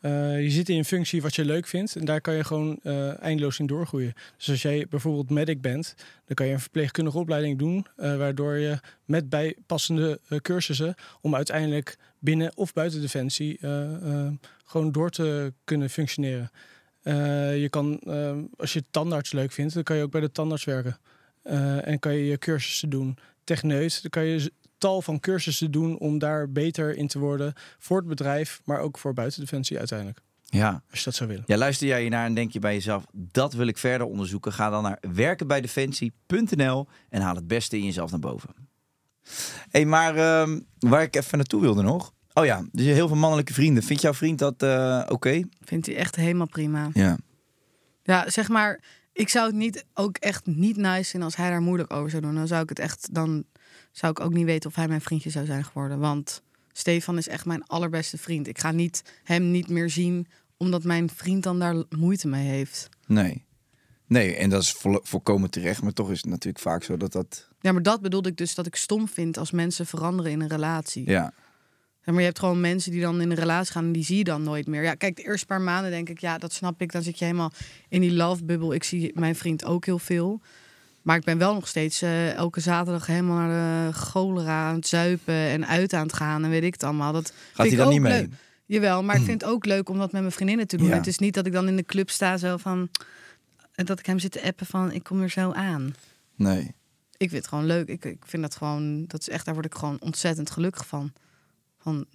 E: Eh, eh, je zit in een functie wat je leuk vindt en daar kan je gewoon eh, eindeloos in doorgroeien. Dus als jij bijvoorbeeld medic bent, dan kan je een verpleegkundige opleiding doen, eh, waardoor je met bijpassende eh, cursussen om uiteindelijk binnen of buiten defensie eh, eh, gewoon door te kunnen functioneren. Eh, je kan, eh, als je tandarts leuk vindt, dan kan je ook bij de tandarts werken. Eh, en kan je je cursussen doen. Techneut, dan kan je z- tal van cursussen doen om daar beter in te worden. Voor het bedrijf, maar ook voor buitendefensie uiteindelijk.
C: Ja.
E: Als je dat zou willen.
C: Ja, luister jij hiernaar en denk je bij jezelf, dat wil ik verder onderzoeken. Ga dan naar werkenbijdefensie.nl en haal het beste in jezelf naar boven. hey, maar ehm, waar ik even naartoe wilde nog. Oh ja, dus je hebt heel veel mannelijke vrienden. Vindt jouw vriend dat eh, oké?
B: Vindt hij echt helemaal prima.
C: Ja.
B: Ja, zeg maar, ik zou het niet, ook echt niet nice vinden als hij daar moeilijk over zou doen. Dan zou ik het echt, dan zou ik ook niet weten of hij mijn vriendje zou zijn geworden. Want Stefan is echt mijn allerbeste vriend. Ik ga niet, hem niet meer zien, omdat mijn vriend dan daar moeite mee heeft.
C: Nee. Nee, en dat is vo- volkomen terecht. Maar toch is het natuurlijk vaak zo dat dat...
B: Ja, maar dat bedoelde ik dus dat ik stom vind als mensen veranderen in een relatie.
C: Ja,
B: Ja, maar je hebt gewoon mensen die dan in een relatie gaan en die zie je dan nooit meer. Ja, kijk, de eerste paar maanden denk ik, ja, dat snap ik. Dan zit je helemaal in die love-bubbel. Ik zie mijn vriend ook heel veel. Maar ik ben wel nog steeds eh, elke zaterdag helemaal naar de cholera aan het zuipen en uit aan het gaan en weet ik het allemaal. Dat vind
C: hij
B: ik
C: dan
B: ook
C: niet mee? Hmm.
B: leuk. Jawel, maar ik vind het ook leuk om dat met mijn vriendinnen te doen.
C: Ja.
B: Het is niet dat ik dan in de club sta zo van... Dat ik hem zit te appen van, ik kom er zo aan.
C: nee.
B: Ik vind het gewoon leuk. Ik, ik vind dat gewoon, dat is echt, daar word ik gewoon ontzettend gelukkig van. Van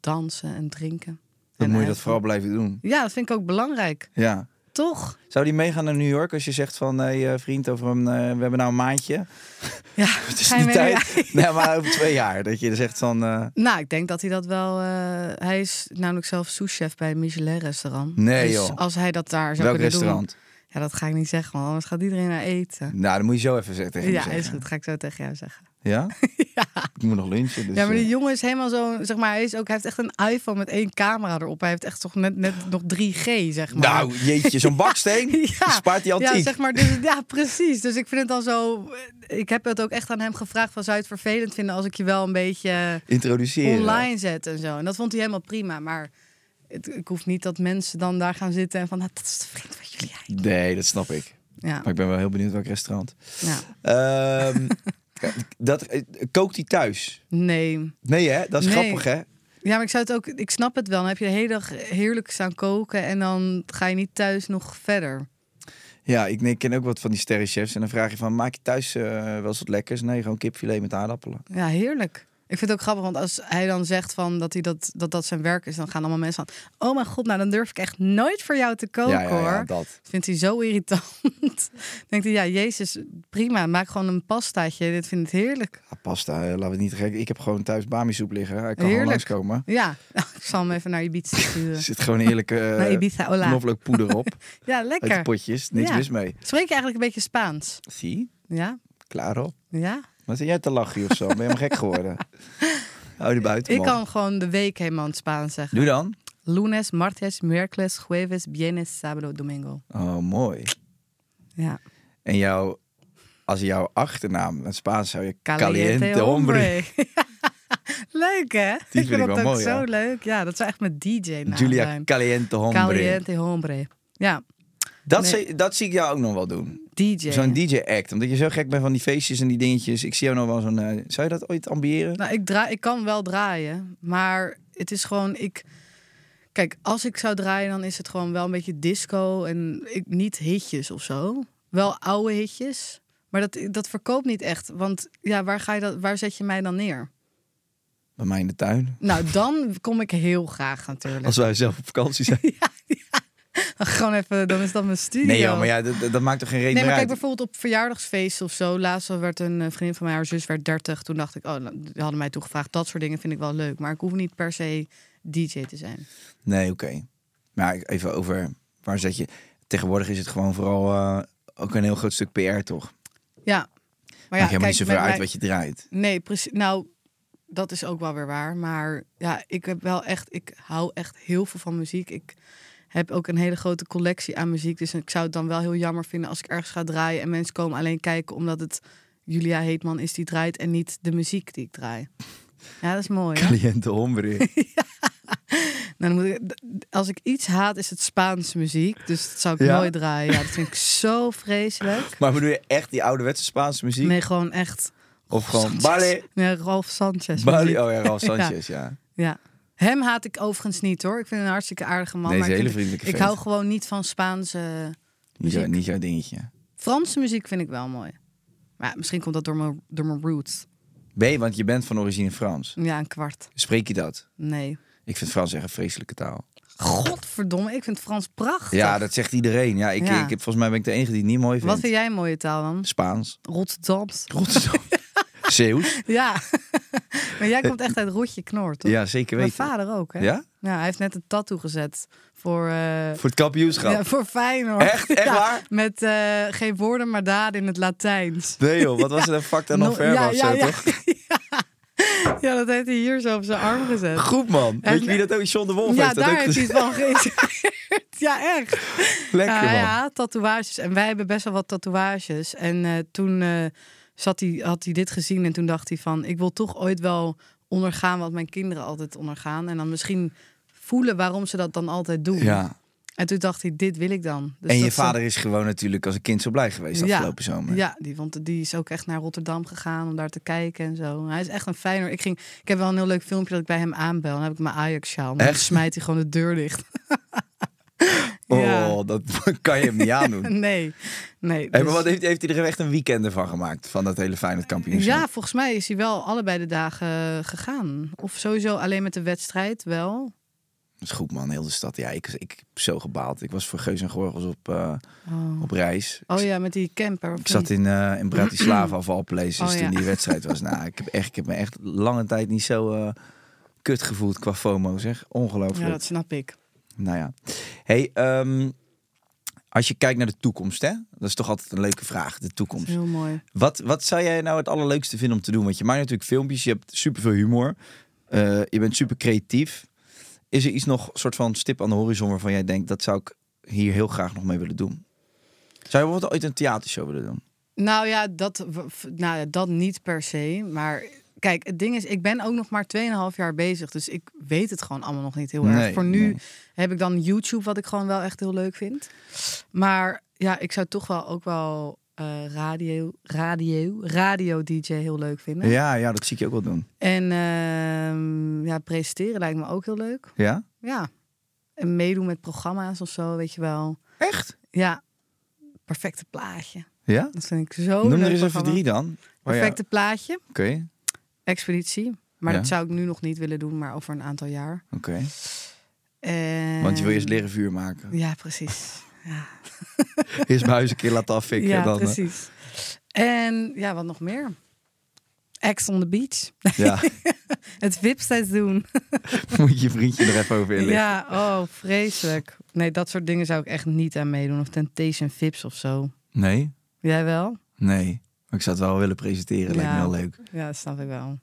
B: dansen en drinken.
C: Dan
B: En
C: moet je dat
B: uit-
C: vooral blijven doen.
B: Ja, dat vind ik ook belangrijk.
C: Ja.
B: Toch?
C: Zou die meegaan naar New York als je zegt van... Hé hey, eh, vriend, over een, eh, we hebben nou een maandje.
B: Ja,
C: Het is
B: ga je
C: niet
B: mee naar-
C: tijd. Nee, maar over twee jaar. Dat je zegt van... eh,
B: Nou, ik denk dat hij dat wel. eh, hij is namelijk zelf souschef bij een Michelin-restaurant.
C: Nee,
B: dus
C: joh.
B: als hij dat daar zou
C: welk
B: kunnen
C: restaurant?
B: doen. Ja, dat ga ik niet zeggen, want anders gaat iedereen naar eten.
C: Nou, dat moet je zo even zeggen. Tegen me
B: Ja,
C: zeggen.
B: is goed. Ga ik zo tegen jou zeggen.
C: Ja? Ik moet nog lunchen. Dus,
B: ja, maar die
C: eh,
B: jongen is helemaal zo. Zeg maar, hij, is ook, hij heeft echt een iPhone met één camera erop. Hij heeft echt toch net, net nog 3G, zeg maar.
C: Nou, jeetje, zo'n baksteen.
B: Ja,
C: Spaart hij antiek.
B: Ja, zeg maar, dus, ja, precies. Dus ik vind het dan zo... eh, Ik heb het ook echt aan hem gevraagd van... zou je het vervelend vinden als ik je wel een beetje
C: Introduceren.
B: online zet en zo? En dat vond hij helemaal prima, maar... Het, ik hoef niet dat mensen dan daar gaan zitten en van... Nou, dat is de vriend van jullie eigenlijk.
C: Nee, dat snap ik.
B: Ja,
C: Maar ik ben wel heel benieuwd welk restaurant.
B: ja.
C: Ehm, dat, eh, kookt hij thuis?
B: Nee.
C: Nee, hè? Dat is
B: Nee.
C: grappig, hè?
B: Ja, maar ik zou het ook... Ik snap het wel. Dan heb je de hele dag heerlijk staan koken... en dan ga je niet thuis nog verder.
C: Ja, ik, nee, ik ken ook wat van die sterrenchefs. En dan vraag je van, maak je thuis eh, wel eens wat lekkers? Nee, gewoon kipfilet met aardappelen.
B: Ja, heerlijk. Ik vind het ook grappig, want als hij dan zegt van dat, hij dat, dat dat zijn werk is, dan gaan allemaal mensen van... Oh mijn god, nou dan durf ik echt nooit voor jou te koken
C: ja, ja,
B: hoor.
C: ja, dat.
B: Vindt hij zo irritant. Denkt hij, ja, jezus, prima, maak gewoon een pastaatje. Dit vind ik heerlijk.
C: Ah, pasta, eh, laten we het niet gek. Ik heb gewoon thuis bamisoep liggen. Hij kan gewoon
B: heerlijk.
C: langskomen.
B: Ja, nou, ik zal hem even naar Ibiza
C: Er
B: sturen.
C: zit gewoon heerlijke
B: Naar
C: eh,
B: Ibiza, hola.
C: knoflookpoeder op.
B: Ja,
C: Uit de
B: lekker.
C: potjes, niks
B: Ja.
C: mis mee.
B: Spreek je eigenlijk een beetje Spaans?
C: Zie,
B: Ja,
C: klaar op.
B: ja.
C: Wat zit jij te lachen hier of zo? Ben je helemaal gek geworden? Hou de buiten,
B: Ik
C: man.
B: kan gewoon de week helemaal in het Spaans zeggen.
C: Doe dan.
B: Lunes, martes, miércoles, jueves, viernes, sábado, domingo.
C: Oh, mooi.
B: Ja.
C: En jouw, als jouw achternaam, in het Spaans zou je
B: Caliente, hombre.
C: hombre.
B: leuk hè? ik
C: vind ik
B: dat
C: wel
B: ook
C: mooi,
B: zo
C: ja.
B: leuk. Ja, dat zou echt mijn DJ naam
C: Julia
B: zijn.
C: Caliente Hombre.
B: Nou, Caliente hombre. Ja,
C: Dat,
B: Nee.
C: zie, dat zie ik jou ook nog wel doen.
B: DJ.
C: Zo'n DJ-act. Omdat je zo gek bent van die feestjes en die dingetjes. Ik zie jou nog wel zo'n... eh, zou je dat ooit ambiëren?
B: Nou, ik, draai, ik kan wel draaien, maar het is gewoon ik. Kijk, als ik zou draaien, dan is het gewoon wel een beetje disco en ik, niet hitjes of zo. Wel oude hitjes, maar dat, dat verkoopt niet echt. Want ja, waar, ga je dat, waar zet je mij dan neer?
C: Bij mij in de tuin.
B: Nou, dan kom ik heel graag natuurlijk.
C: Als wij zelf op vakantie zijn.
B: Gewoon even, dan is dat mijn studio.
C: Nee joh, maar ja, dat, dat- dat maakt toch geen reden
B: Nee, maar
C: meer
B: kijk
C: uit?
B: bijvoorbeeld op verjaardagsfeesten of zo. Laatst werd een eh, vriendin van mij, haar zus werd 30. Toen dacht ik, oh, nou, die hadden mij toegevraagd. Dat soort dingen vind ik wel leuk. Maar ik hoef niet per se DJ te zijn.
C: Nee, oké. Maar even over... Waar zet je... Tegenwoordig is het gewoon vooral eh, ook een heel groot stuk PR, toch?
B: Ja. Maar
C: Maakt helemaal niet
B: kijk,
C: zoveel
B: met
C: uit
B: mij-
C: wat je draait.
B: Nee, precies. Nou, dat is ook wel weer waar. Maar ja, ik heb wel echt, ik hou echt heel veel van muziek. Ik heb ook een hele grote collectie aan muziek. Dus ik zou het dan wel heel jammer vinden als ik ergens ga draaien en mensen komen alleen kijken omdat het Julia Heetman is die draait en niet de muziek die ik draai. Ja, dat is mooi. Hè?
C: Caliente hombre.
B: Nou, dan moet ik, d- als ik iets haat, is het Spaanse muziek. Dus dat zou ik
C: Ja?
B: nooit draaien. Ja, dat vind ik zo vreselijk.
C: Maar bedoel je echt die ouderwetse Spaanse muziek?
B: Nee, gewoon echt.
C: Of gewoon
B: Sanchez.
C: Bali?
B: Nee, Rolf Sanchez.
C: Bali,
B: muziek.
C: oh ja, Ralf Sanchez, ja.
B: Ja. Hem haat ik overigens niet hoor. Ik vind hem een hartstikke aardige man.
C: Nee,
B: maar
C: is een
B: ik,
C: hele
B: vind-
C: vriendelijke
B: ik
C: vent.
B: hou gewoon niet van Spaanse.
C: Niet, jou,
B: Muziek.
C: niet jouw dingetje.
B: Franse muziek vind ik wel mooi. Maar ja, misschien komt dat door mijn, door mijn roots.
C: B, want je bent van origine Frans.
B: Ja, een kwart.
C: Spreek je dat?
B: Nee.
C: Ik vind Frans echt een vreselijke taal.
B: Godverdomme, ik vind Frans prachtig.
C: Ja, dat zegt iedereen. Ja, ik,
B: Ja.
C: Ik, heb volgens mij ben ik de enige die het niet mooi vindt.
B: Wat vind jij een mooie taal dan?
C: Spaans.
B: Rotterdams.
C: Rotterdam. Zeeuws.
B: Ja. maar jij komt echt uit Rotje Knoor, toch?
C: Ja, zeker
B: Mijn
C: weten.
B: vader ook, hè?
C: Ja?
B: Ja, hij heeft net een tattoo gezet voor... eh,
C: Voor het kampioenschap.
B: ja, voor Feyenoord.
C: Echt? Echt
B: Ja,
C: waar?
B: Met eh, geen woorden, maar daden in het Latijns.
C: Nee joh, wat was het een fuck dan
B: No-
C: nog verder
B: ja,
C: of
B: ja,
C: zo,
B: ja.
C: toch?
B: Ja, dat heeft hij hier zo op zijn arm gezet.
C: Goed man. Weet je
B: En-
C: wie dat ook? John de Wolf
B: ja,
C: heeft dat
B: daar
C: ook
B: heeft hij het
C: gezien.
B: van geïnspireerd. ja, echt.
C: Lekker
B: ja,
C: man.
B: Eh, ja, tatoeages. En wij hebben best wel wat tatoeages. En eh, toen eh, zat hij, had hij dit gezien en toen dacht hij van... ik wil toch ooit wel ondergaan wat mijn kinderen altijd ondergaan. En dan misschien voelen waarom ze dat dan altijd doen.
C: Ja.
B: En toen dacht hij, dit wil ik dan. Dus
C: en je
B: dat
C: vader is gewoon natuurlijk als een kind zo blij geweest
B: ja,
C: afgelopen zomer.
B: Ja, die, want die is ook echt naar Rotterdam gegaan om daar te kijken en zo. Hij is echt een fijner. Ik, ging, ik heb wel een heel leuk filmpje dat ik bij hem aanbel. Dan heb ik mijn Ajax-sjaal. Maar dan
C: Echt?
B: smijt hij gewoon de deur dicht.
C: Oh,
B: ja.
C: dat kan je hem niet aandoen.
B: Nee, nee.
C: Hey, maar
B: dus-
C: wat heeft, heeft hij er echt een weekend ervan gemaakt? Van dat hele Feyenoord kampioenschap?
B: Ja, volgens mij is hij wel allebei de dagen eh, gegaan. Of sowieso alleen met de wedstrijd wel.
C: Dat is goed man, heel de stad. Ja, ik, ik heb zo gebaald. Ik was voor Geus en Gorgels op, eh,
B: Oh,
C: op reis.
B: Oh ja, met die camper. of
C: Ik zat
B: niet?
C: in, eh, in Bratislava of all places
B: Oh, ja.
C: toen die wedstrijd was. Nou, ik heb, echt, ik heb me echt lange tijd niet zo eh, kut gevoeld qua FOMO zeg. Ongelooflijk.
B: Ja, dat snap ik.
C: Nou ja. Hey, ehm, als je kijkt naar de toekomst, hè? dat is toch altijd een leuke vraag, de
B: Dat
C: toekomst.
B: is heel mooi.
C: Wat, wat zou jij nou het allerleukste vinden om te doen? Want je maakt natuurlijk filmpjes, je hebt superveel humor, eh, je bent super creatief. Is er iets nog, soort van stip aan de horizon waarvan jij denkt, dat zou ik hier heel graag nog mee willen doen? Zou je bijvoorbeeld ooit een theatershow willen doen?
B: Nou ja, dat, w- f- nou ja, dat niet per se. Maar kijk, het ding is, ik ben ook nog maar 2,5 jaar bezig. Dus ik weet het gewoon allemaal nog niet heel erg.
C: Nee,
B: Voor nu
C: nee.
B: heb ik dan YouTube, wat ik gewoon wel echt heel leuk vind. Maar ja, ik zou toch wel ook wel eh, radio, radio, radio DJ heel leuk vinden.
C: Ja, ja, dat zie ik je ook wel doen.
B: En ehm, ja, presenteren lijkt me ook heel leuk.
C: Ja?
B: Ja. En meedoen met programma's of zo, weet je wel.
C: Echt?
B: Ja. Perfecte plaatje.
C: Ja?
B: Dat vind ik zo Oh, leuk.
C: Noem er eens even
B: programma.
C: drie Oh dan. Waar je-
B: Perfecte plaatje.
C: Oké,
B: Expeditie. Maar
C: Ja.
B: dat zou ik nu nog niet willen doen, maar over een aantal jaar.
C: oké.
B: En...
C: Want je wil eerst leren vuur maken.
B: Ja, precies.
C: Eerst mijn huis een keer laten affikken.
B: ja,
C: dan, eh,
B: precies. En ja, wat nog meer? Ex on the beach.
C: ja,
B: Het wipstijd doen.
C: moet je vriendje er even over inlichten.
B: Ja, oh, vreselijk. Nee, dat soort dingen zou ik echt niet aan meedoen. Of Temptation Vips of zo.
C: Nee,
B: Jij wel?
C: nee. Maar ik zou het wel willen presenteren, lijkt me
B: Ja.
C: heel leuk.
B: Ja, dat snap ik wel.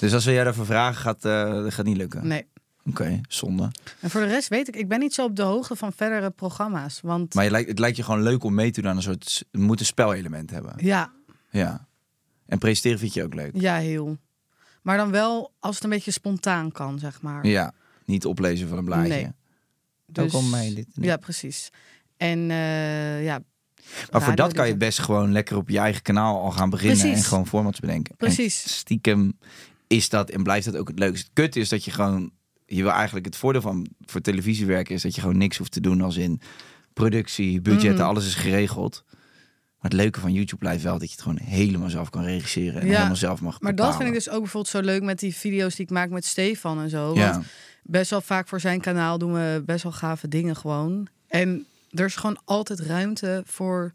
C: Dus als we jou daarvoor vragen, gaat eh, dat gaat niet lukken.
B: Nee.
C: Oké, zonde.
B: En voor de rest weet ik, ik ben niet zo op de hoogte van verdere programma's. Want
C: Maar je lijkt, het lijkt je gewoon leuk om mee te doen aan een soort... s- Het moet een spelelement hebben.
B: ja,
C: Ja. En presenteren vind je ook leuk.
B: ja, heel. Maar dan wel als het een beetje spontaan kan, zeg maar.
C: Ja. Niet oplezen van een blaadje.
B: Nee.
C: ook al mij dit niet.
B: Ja, precies. En eh, ja,
C: Maar voor
B: radio
C: dat kan je
B: DJ.
C: best gewoon lekker op je eigen kanaal al gaan beginnen.
B: Precies.
C: En gewoon formats bedenken.
B: Precies.
C: En stiekem is dat en blijft dat ook het leukste. Het kut is dat je gewoon... Je wil eigenlijk het voordeel van voor televisie werken... is dat je gewoon niks hoeft te doen als in productie, budgetten.
B: Mm.
C: Alles is geregeld. Maar het leuke van YouTube blijft wel dat je het gewoon helemaal zelf kan regisseren. En
B: Ja,
C: helemaal zelf mag
B: Maar dat vind ik dus ook bijvoorbeeld zo leuk met die video's die ik maak met Stefan en zo. Want
C: Ja.
B: best wel vaak voor zijn kanaal doen we best wel gave dingen gewoon. En er is gewoon altijd ruimte voor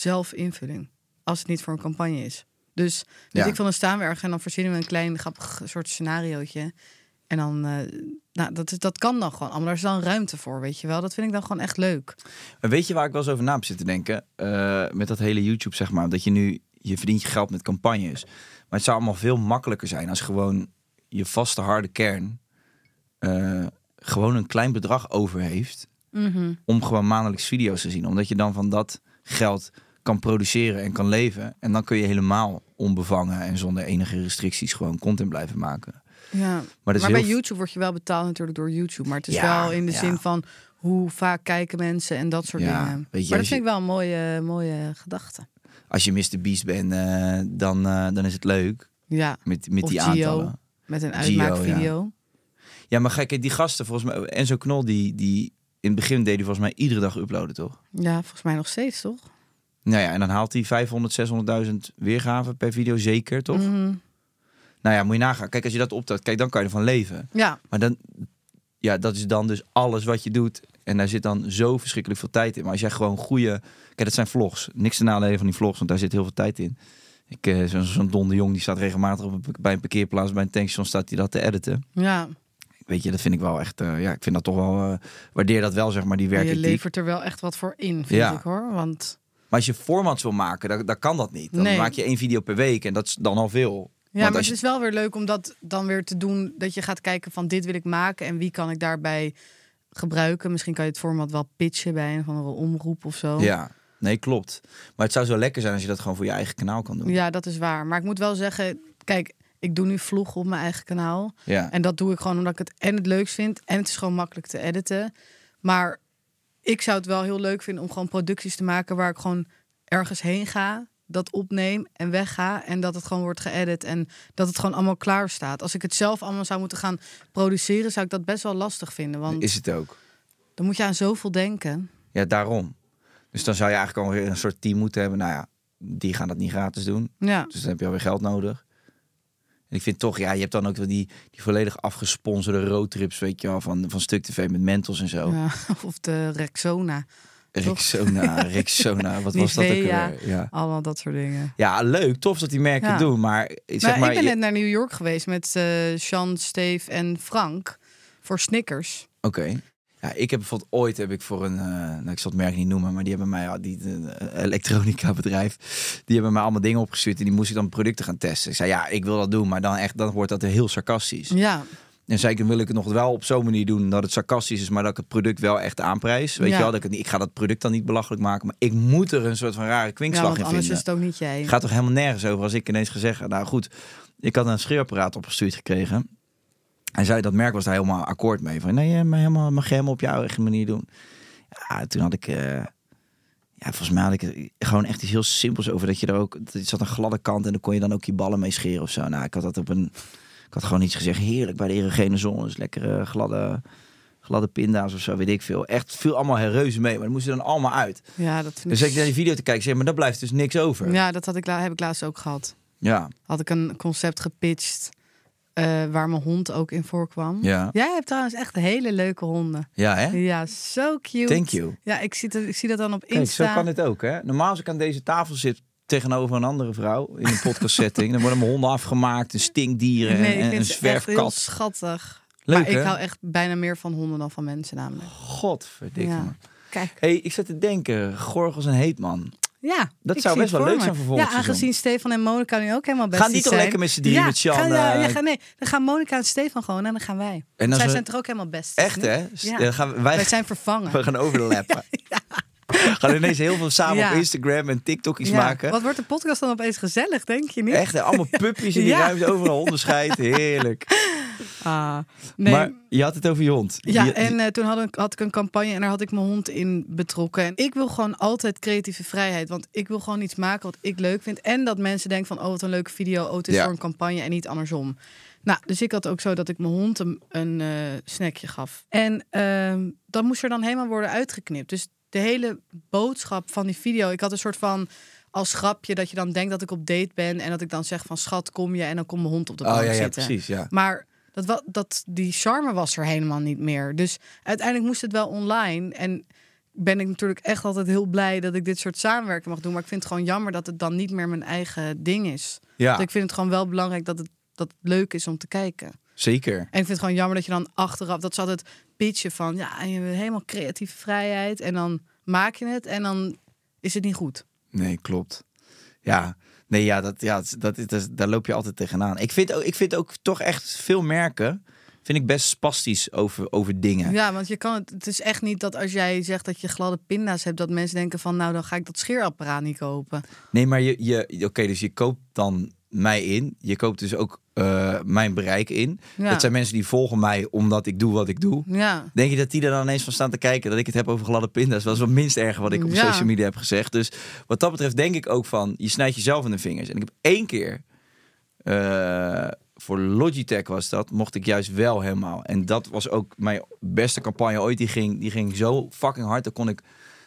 B: zelfinvulling. Als het niet voor een campagne is. Dus weet
C: Ja.
B: ik van een staan we ergens en dan verzinnen we een klein grappig soort scenariootje. En dan, eh, nou, dat, is- dat kan dan gewoon allemaal. Daar is dan ruimte voor, weet je wel. Dat vind ik dan gewoon echt leuk.
C: Maar weet je waar ik wel eens over na heb zitten denken? Eh, met dat hele YouTube, zeg maar. Dat je nu, je verdient je geld met campagnes. Maar het zou allemaal veel makkelijker zijn als gewoon je vaste harde kern eh, gewoon een klein bedrag over heeft. Om gewoon maandelijks video's te zien. Omdat je dan van dat geld kan produceren en kan leven. En dan kun je helemaal onbevangen en zonder enige restricties gewoon content blijven maken.
B: Ja.
C: Maar dat is
B: Maar
C: heel
B: bij
C: v-
B: YouTube word je wel betaald natuurlijk door YouTube. Maar het is
C: Ja,
B: wel in de
C: ja.
B: zin van hoe vaak kijken mensen en dat soort
C: Ja,
B: dingen.
C: weet
B: maar
C: je, als
B: dat
C: je-
B: vind ik wel een mooie, mooie gedachte.
C: Als je Mr. Beast bent, eh, dan, eh, dan is het leuk
B: Ja,
C: met, met
B: Of
C: die
B: Gio.
C: aantallen.
B: met een
C: Gio,
B: uitmaakvideo.
C: Ja, maar gek, die gasten volgens mij... Enzo Knol, die, die in het begin deed hij volgens mij iedere dag uploaden, toch?
B: Ja. volgens mij nog steeds, toch?
C: Nou ja, en dan haalt hij 500, 600.000 weergaven per video zeker, toch?
B: Mhm.
C: Nou ja, moet je nagaan. Kijk, als je dat optelt, kijk, dan kan je ervan leven.
B: Ja,
C: Maar dan, ja, dat is dan dus alles wat je doet. En daar zit dan zo verschrikkelijk veel tijd in. Maar als jij gewoon goede... Kijk, dat zijn vlogs. Niks te nadelen van die vlogs, want daar zit heel veel tijd in. Ik, eh, zo- zo'n Don de Jong, die staat regelmatig op een- bij een parkeerplaats, bij een tankstation, staat hij dat te editen.
B: ja.
C: Weet je, dat vind ik wel echt... eh, ja, ik vind dat toch wel... eh, waardeer dat wel, zeg maar, die
B: Maar je
C: werkethiek.
B: levert er wel echt wat voor in, vind
C: Ja.
B: ik hoor. Want
C: Maar als je formats wil maken, dan, dan kan dat niet. Dan
B: Nee.
C: maak je één video per week en dat is dan al veel.
B: ja,
C: Want
B: maar
C: als
B: het
C: je-
B: is wel weer leuk om dat dan weer te doen. Dat je gaat kijken van dit wil ik maken en wie kan ik daarbij gebruiken. Misschien kan je het format wel pitchen bij een of andere omroep of zo.
C: Ja, nee, klopt. Maar het zou zo lekker zijn als je dat gewoon voor je eigen kanaal kan doen.
B: Ja, dat is waar. Maar ik moet wel zeggen, kijk, ik doe nu vlog op mijn eigen kanaal.
C: Ja.
B: En dat doe ik gewoon omdat ik het en het leukst vind en het is gewoon makkelijk te editen. Maar ik zou het wel heel leuk vinden om gewoon producties te maken waar ik gewoon ergens heen ga, dat opneem en wegga en dat het gewoon wordt geëdit en dat het gewoon allemaal klaar staat. Als ik het zelf allemaal zou moeten gaan produceren, zou ik dat best wel lastig vinden, want
C: Is het ook.
B: dan moet je aan zoveel denken.
C: Ja, daarom. Dus dan zou je eigenlijk al een soort team moeten hebben. Nou ja, die gaan dat niet gratis doen.
B: Ja,
C: Dus dan heb je alweer geld nodig. En ik vind toch, ja, je hebt dan ook wel die, die volledig afgesponsorde roadtrips, weet je wel, van, van stuk tv met mentors en zo.
B: Ja, of de Rexona,
C: Rexona, Rexona, wat was dat ook
B: Nivea.
C: alweer? Ja.
B: allemaal dat soort dingen.
C: ja, leuk, tof dat die merken
B: Ja.
C: het doen, maar eh, zeg
B: maar,
C: maar,
B: ik ben
C: je-
B: net naar New York geweest met eh Sean, Steve en Frank voor Snickers.
C: Oké. Ja, ik heb bijvoorbeeld ooit heb ik voor een, eh, nou, ik zal het merk niet noemen, maar die hebben mij, ja, die eh, elektronica bedrijf, die hebben mij allemaal dingen opgestuurd en die moest ik dan producten gaan testen. Ik zei ja, ik wil dat doen, maar dan echt, dan wordt dat heel sarcastisch.
B: Ja,
C: En zei ik, dan wil ik het nog wel op zo'n manier doen dat het sarcastisch is, maar dat ik het product wel echt aanprijs. Weet
B: Ja.
C: je wel, dat ik, het niet, ik ga dat product dan niet belachelijk maken, maar ik moet er een soort van rare
B: ja
C: kwinkslag
B: want
C: in
B: anders
C: vinden.
B: is het ook niet jij.
C: Gaat toch helemaal nergens over als ik ineens ga zeggen. Nou goed, ik had een scheerapparaat opgestuurd gekregen. Hij zei dat merk was daar helemaal akkoord mee. Van nee, eh, maar helemaal, mag je helemaal op jouw eigen manier doen. Ja, toen had ik. eh, ja, volgens mij had ik er gewoon echt iets heel simpels over. Dat je er ook. Er zat een gladde kant en dan kon je dan ook je ballen mee scheren of zo. Nou, ik had dat op een. Ik had gewoon iets gezegd. Heerlijk bij de erogene zon. Dus lekkere gladde. Gladde pinda's of zo, weet ik veel. Echt viel allemaal reuze mee, maar dat moest er dan allemaal uit.
B: Ja, dat vind
C: Dus
B: ik.
C: ik naar die video te kijken, zeg maar, daar blijft dus niks over.
B: Ja, dat had ik, la- heb ik laatst ook gehad.
C: ja.
B: Had ik een concept gepitcht eh, waar mijn hond ook in voorkwam.
C: Ja.
B: Jij hebt trouwens echt hele leuke honden.
C: Ja, hè?
B: Ja, zo cute.
C: Thank you.
B: Ja, ik zie dat, ik zie dat dan op
C: Kijk,
B: Insta.
C: zo kan het ook, hè? Normaal als ik aan deze tafel zit tegenover een andere vrouw in een podcast setting, dan worden mijn honden afgemaakt, een stinkdieren
B: Nee, ik
C: en
B: vind
C: een
B: het echt heel
C: zwerfkat.
B: schattig.
C: Leuk,
B: maar ik
C: hè?
B: hou echt bijna meer van honden dan van mensen namelijk.
C: Godverdikke
B: Ja.
C: me.
B: Kijk.
C: hey, ik zat te denken, Gorgels en Heetman.
B: Ja,
C: Dat
B: ik
C: zou
B: zie
C: best
B: het
C: wel
B: voor
C: leuk
B: me.
C: zijn voor volgend
B: Ja, aangezien
C: seizoen.
B: Stefan en Monica nu ook helemaal best
C: die toch lekker met z'n drieën,
B: ja,
C: met Sjan,
B: Gaan, ja,
C: eh,
B: ja, gaan, nee, dan gaan Monica en Stefan gewoon en dan gaan wij.
C: als
B: Zij
C: we-
B: zijn toch ook helemaal best.
C: Echt, hè? S- dan gaan we- wij-
B: wij zijn vervangen.
C: We gaan overlappen. We gaan ineens heel veel samen
B: Ja.
C: op Instagram en TikTok iets
B: Ja,
C: maken.
B: Wat wordt de podcast dan opeens gezellig, denk je niet?
C: Echt, hè? allemaal pupjes in die
B: Ja.
C: ruimte, overal onderscheid. Heerlijk.
B: Ah, nee.
C: Maar je had het over je hond.
B: ja,
C: Je-
B: en eh, toen had ik, had ik een campagne en daar had ik mijn hond in betrokken. En ik wil gewoon altijd creatieve vrijheid. Want ik wil gewoon iets maken wat ik leuk vind. En dat mensen denken van, oh wat een leuke video. Oh, het is
C: Ja.
B: voor een campagne en niet andersom. Nou, dus ik had ook zo dat ik mijn hond een, een eh, snackje gaf. En ehm, dat moest er dan helemaal worden uitgeknipt. Dus de hele boodschap van die video. Ik had een soort van als grapje dat je dan denkt dat ik op date ben. En dat ik dan zeg van, schat, kom je? En dan komt mijn hond op de
C: Oh,
B: bank
C: ja, ja,
B: zitten.
C: precies, ja.
B: Maar dat, wa- dat, die charme was er helemaal niet meer. Dus uiteindelijk moest het wel online. En ben ik natuurlijk echt altijd heel blij dat ik dit soort samenwerking mag doen. Maar ik vind het gewoon jammer dat het dan niet meer mijn eigen ding is.
C: Ja.
B: Want ik vind het gewoon wel belangrijk dat het, dat het leuk is om te kijken.
C: Zeker.
B: En ik vind het gewoon jammer dat je dan achteraf... dat ze altijd pitchen van... ja, en je hebt helemaal creatieve vrijheid. En dan maak je het en dan is het niet goed.
C: Nee, klopt. Ja, nee, ja, dat, ja dat, dat, is- dat, is- daar loop je altijd tegenaan. Ik vind, ook, ik vind ook toch echt veel merken, vind ik best spastisch over, over dingen.
B: Ja, want je kan het, het is echt niet dat als jij zegt dat je gladde pinda's hebt... dat mensen denken van nou, dan ga ik dat scheerapparaat niet kopen.
C: Nee, maar je, je oké, dus je koopt dan mij in. Je koopt dus ook eh, eh, mijn bereik in.
B: Ja.
C: Dat zijn mensen die volgen mij omdat ik doe wat ik doe.
B: Ja.
C: Denk je dat die er dan ineens van staan te kijken dat ik het heb over gladde pinda's? Dat is wel het minst erg wat ik op
B: Ja.
C: social media heb gezegd. Dus wat dat betreft denk ik ook van, je snijdt jezelf in de vingers. En ik heb één keer, eh, voor Logitech was dat, mocht ik juist wel helemaal. En dat was ook mijn beste campagne ooit. Die ging, die ging zo fucking hard. Dan kon ik,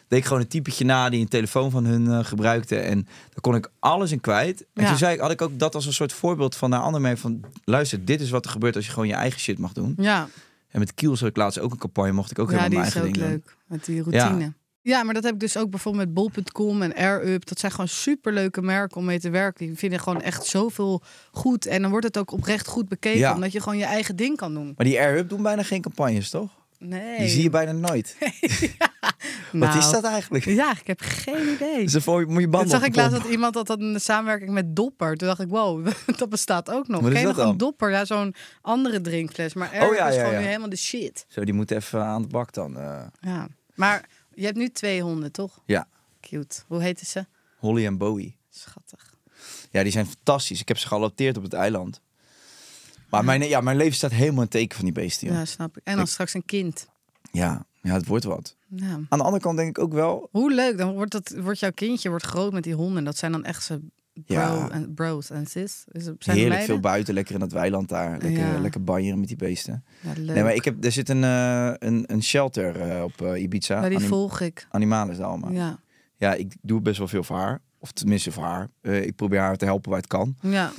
C: deed ik gewoon een typetje na die een telefoon van hun eh, gebruikte. En daar kon ik alles in kwijt. En
B: Ja.
C: toen zei ik, had ik ook dat als een soort voorbeeld van naar anderen mee. Van, luister, dit is wat er gebeurt als je gewoon je eigen shit mag doen.
B: Ja.
C: En met Kiels had ik laatst ook een campagne, mocht ik ook
B: ja,
C: helemaal
B: die
C: mijn
B: is
C: eigen
B: ook
C: ding doen.
B: leuk. Met die routine. Ja. maar dat heb ik dus ook bijvoorbeeld met bol.com en AirUp. Dat zijn gewoon superleuke merken om mee te werken. Die vinden gewoon echt zoveel goed. En dan wordt het ook oprecht goed bekeken.
C: Ja.
B: Omdat je gewoon je eigen ding kan doen.
C: Maar die Air-Hub doen bijna geen campagnes, toch?
B: Nee.
C: Die zie je bijna nooit. Wat
B: Nou,
C: is dat eigenlijk?
B: Ja, ik heb geen idee.
C: Ze voor moet je
B: Dat
C: banden
B: zag
C: op
B: ik
C: de
B: laatst
C: pomp.
B: dat iemand had dat in de samenwerking met Dopper. Toen dacht ik, wow, dat bestaat ook nog.
C: Wat is
B: Ken je
C: dat
B: nog een
C: dan?
B: Dopper? Ja, zo'n andere drinkfles. Maar Air
C: Oh, ja,
B: is
C: ja,
B: gewoon
C: ja.
B: nu helemaal de shit.
C: Zo, die moet even aan de bak dan. eh.
B: Ja. Maar je hebt nu twee honden, toch?
C: ja,
B: Cute. Hoe heten ze?
C: Holly en Bowie.
B: Schattig.
C: Ja, die zijn fantastisch. Ik heb ze geadopteerd op het eiland. Maar mijn, ja, mijn leven staat helemaal in het teken van die beesten.
B: Ja,
C: joh.
B: snap ik. En dan straks een kind.
C: Ja. ja, het wordt wat.
B: Ja.
C: Aan de andere kant denk ik ook wel...
B: Hoe leuk. Dan wordt, dat, wordt jouw kindje wordt groot met die honden. En dat zijn dan echt zijn bro
C: Ja.
B: en bros en sis. Is het, zijn
C: Heerlijk
B: het
C: veel
B: meiden?
C: buiten, lekker in dat weiland daar. Lekker,
B: Ja.
C: lekker banjeren met die beesten.
B: Ja, leuk.
C: Nee, maar ik heb, er zit een, eh, een, een shelter eh, op eh, Ibiza.
B: Ja, die
C: Anim-
B: volg ik.
C: Animalen is dat allemaal.
B: Ja.
C: ja, ik doe best wel veel voor haar. Of tenminste voor haar. Eh, ik probeer haar te helpen waar het kan.
B: Ja.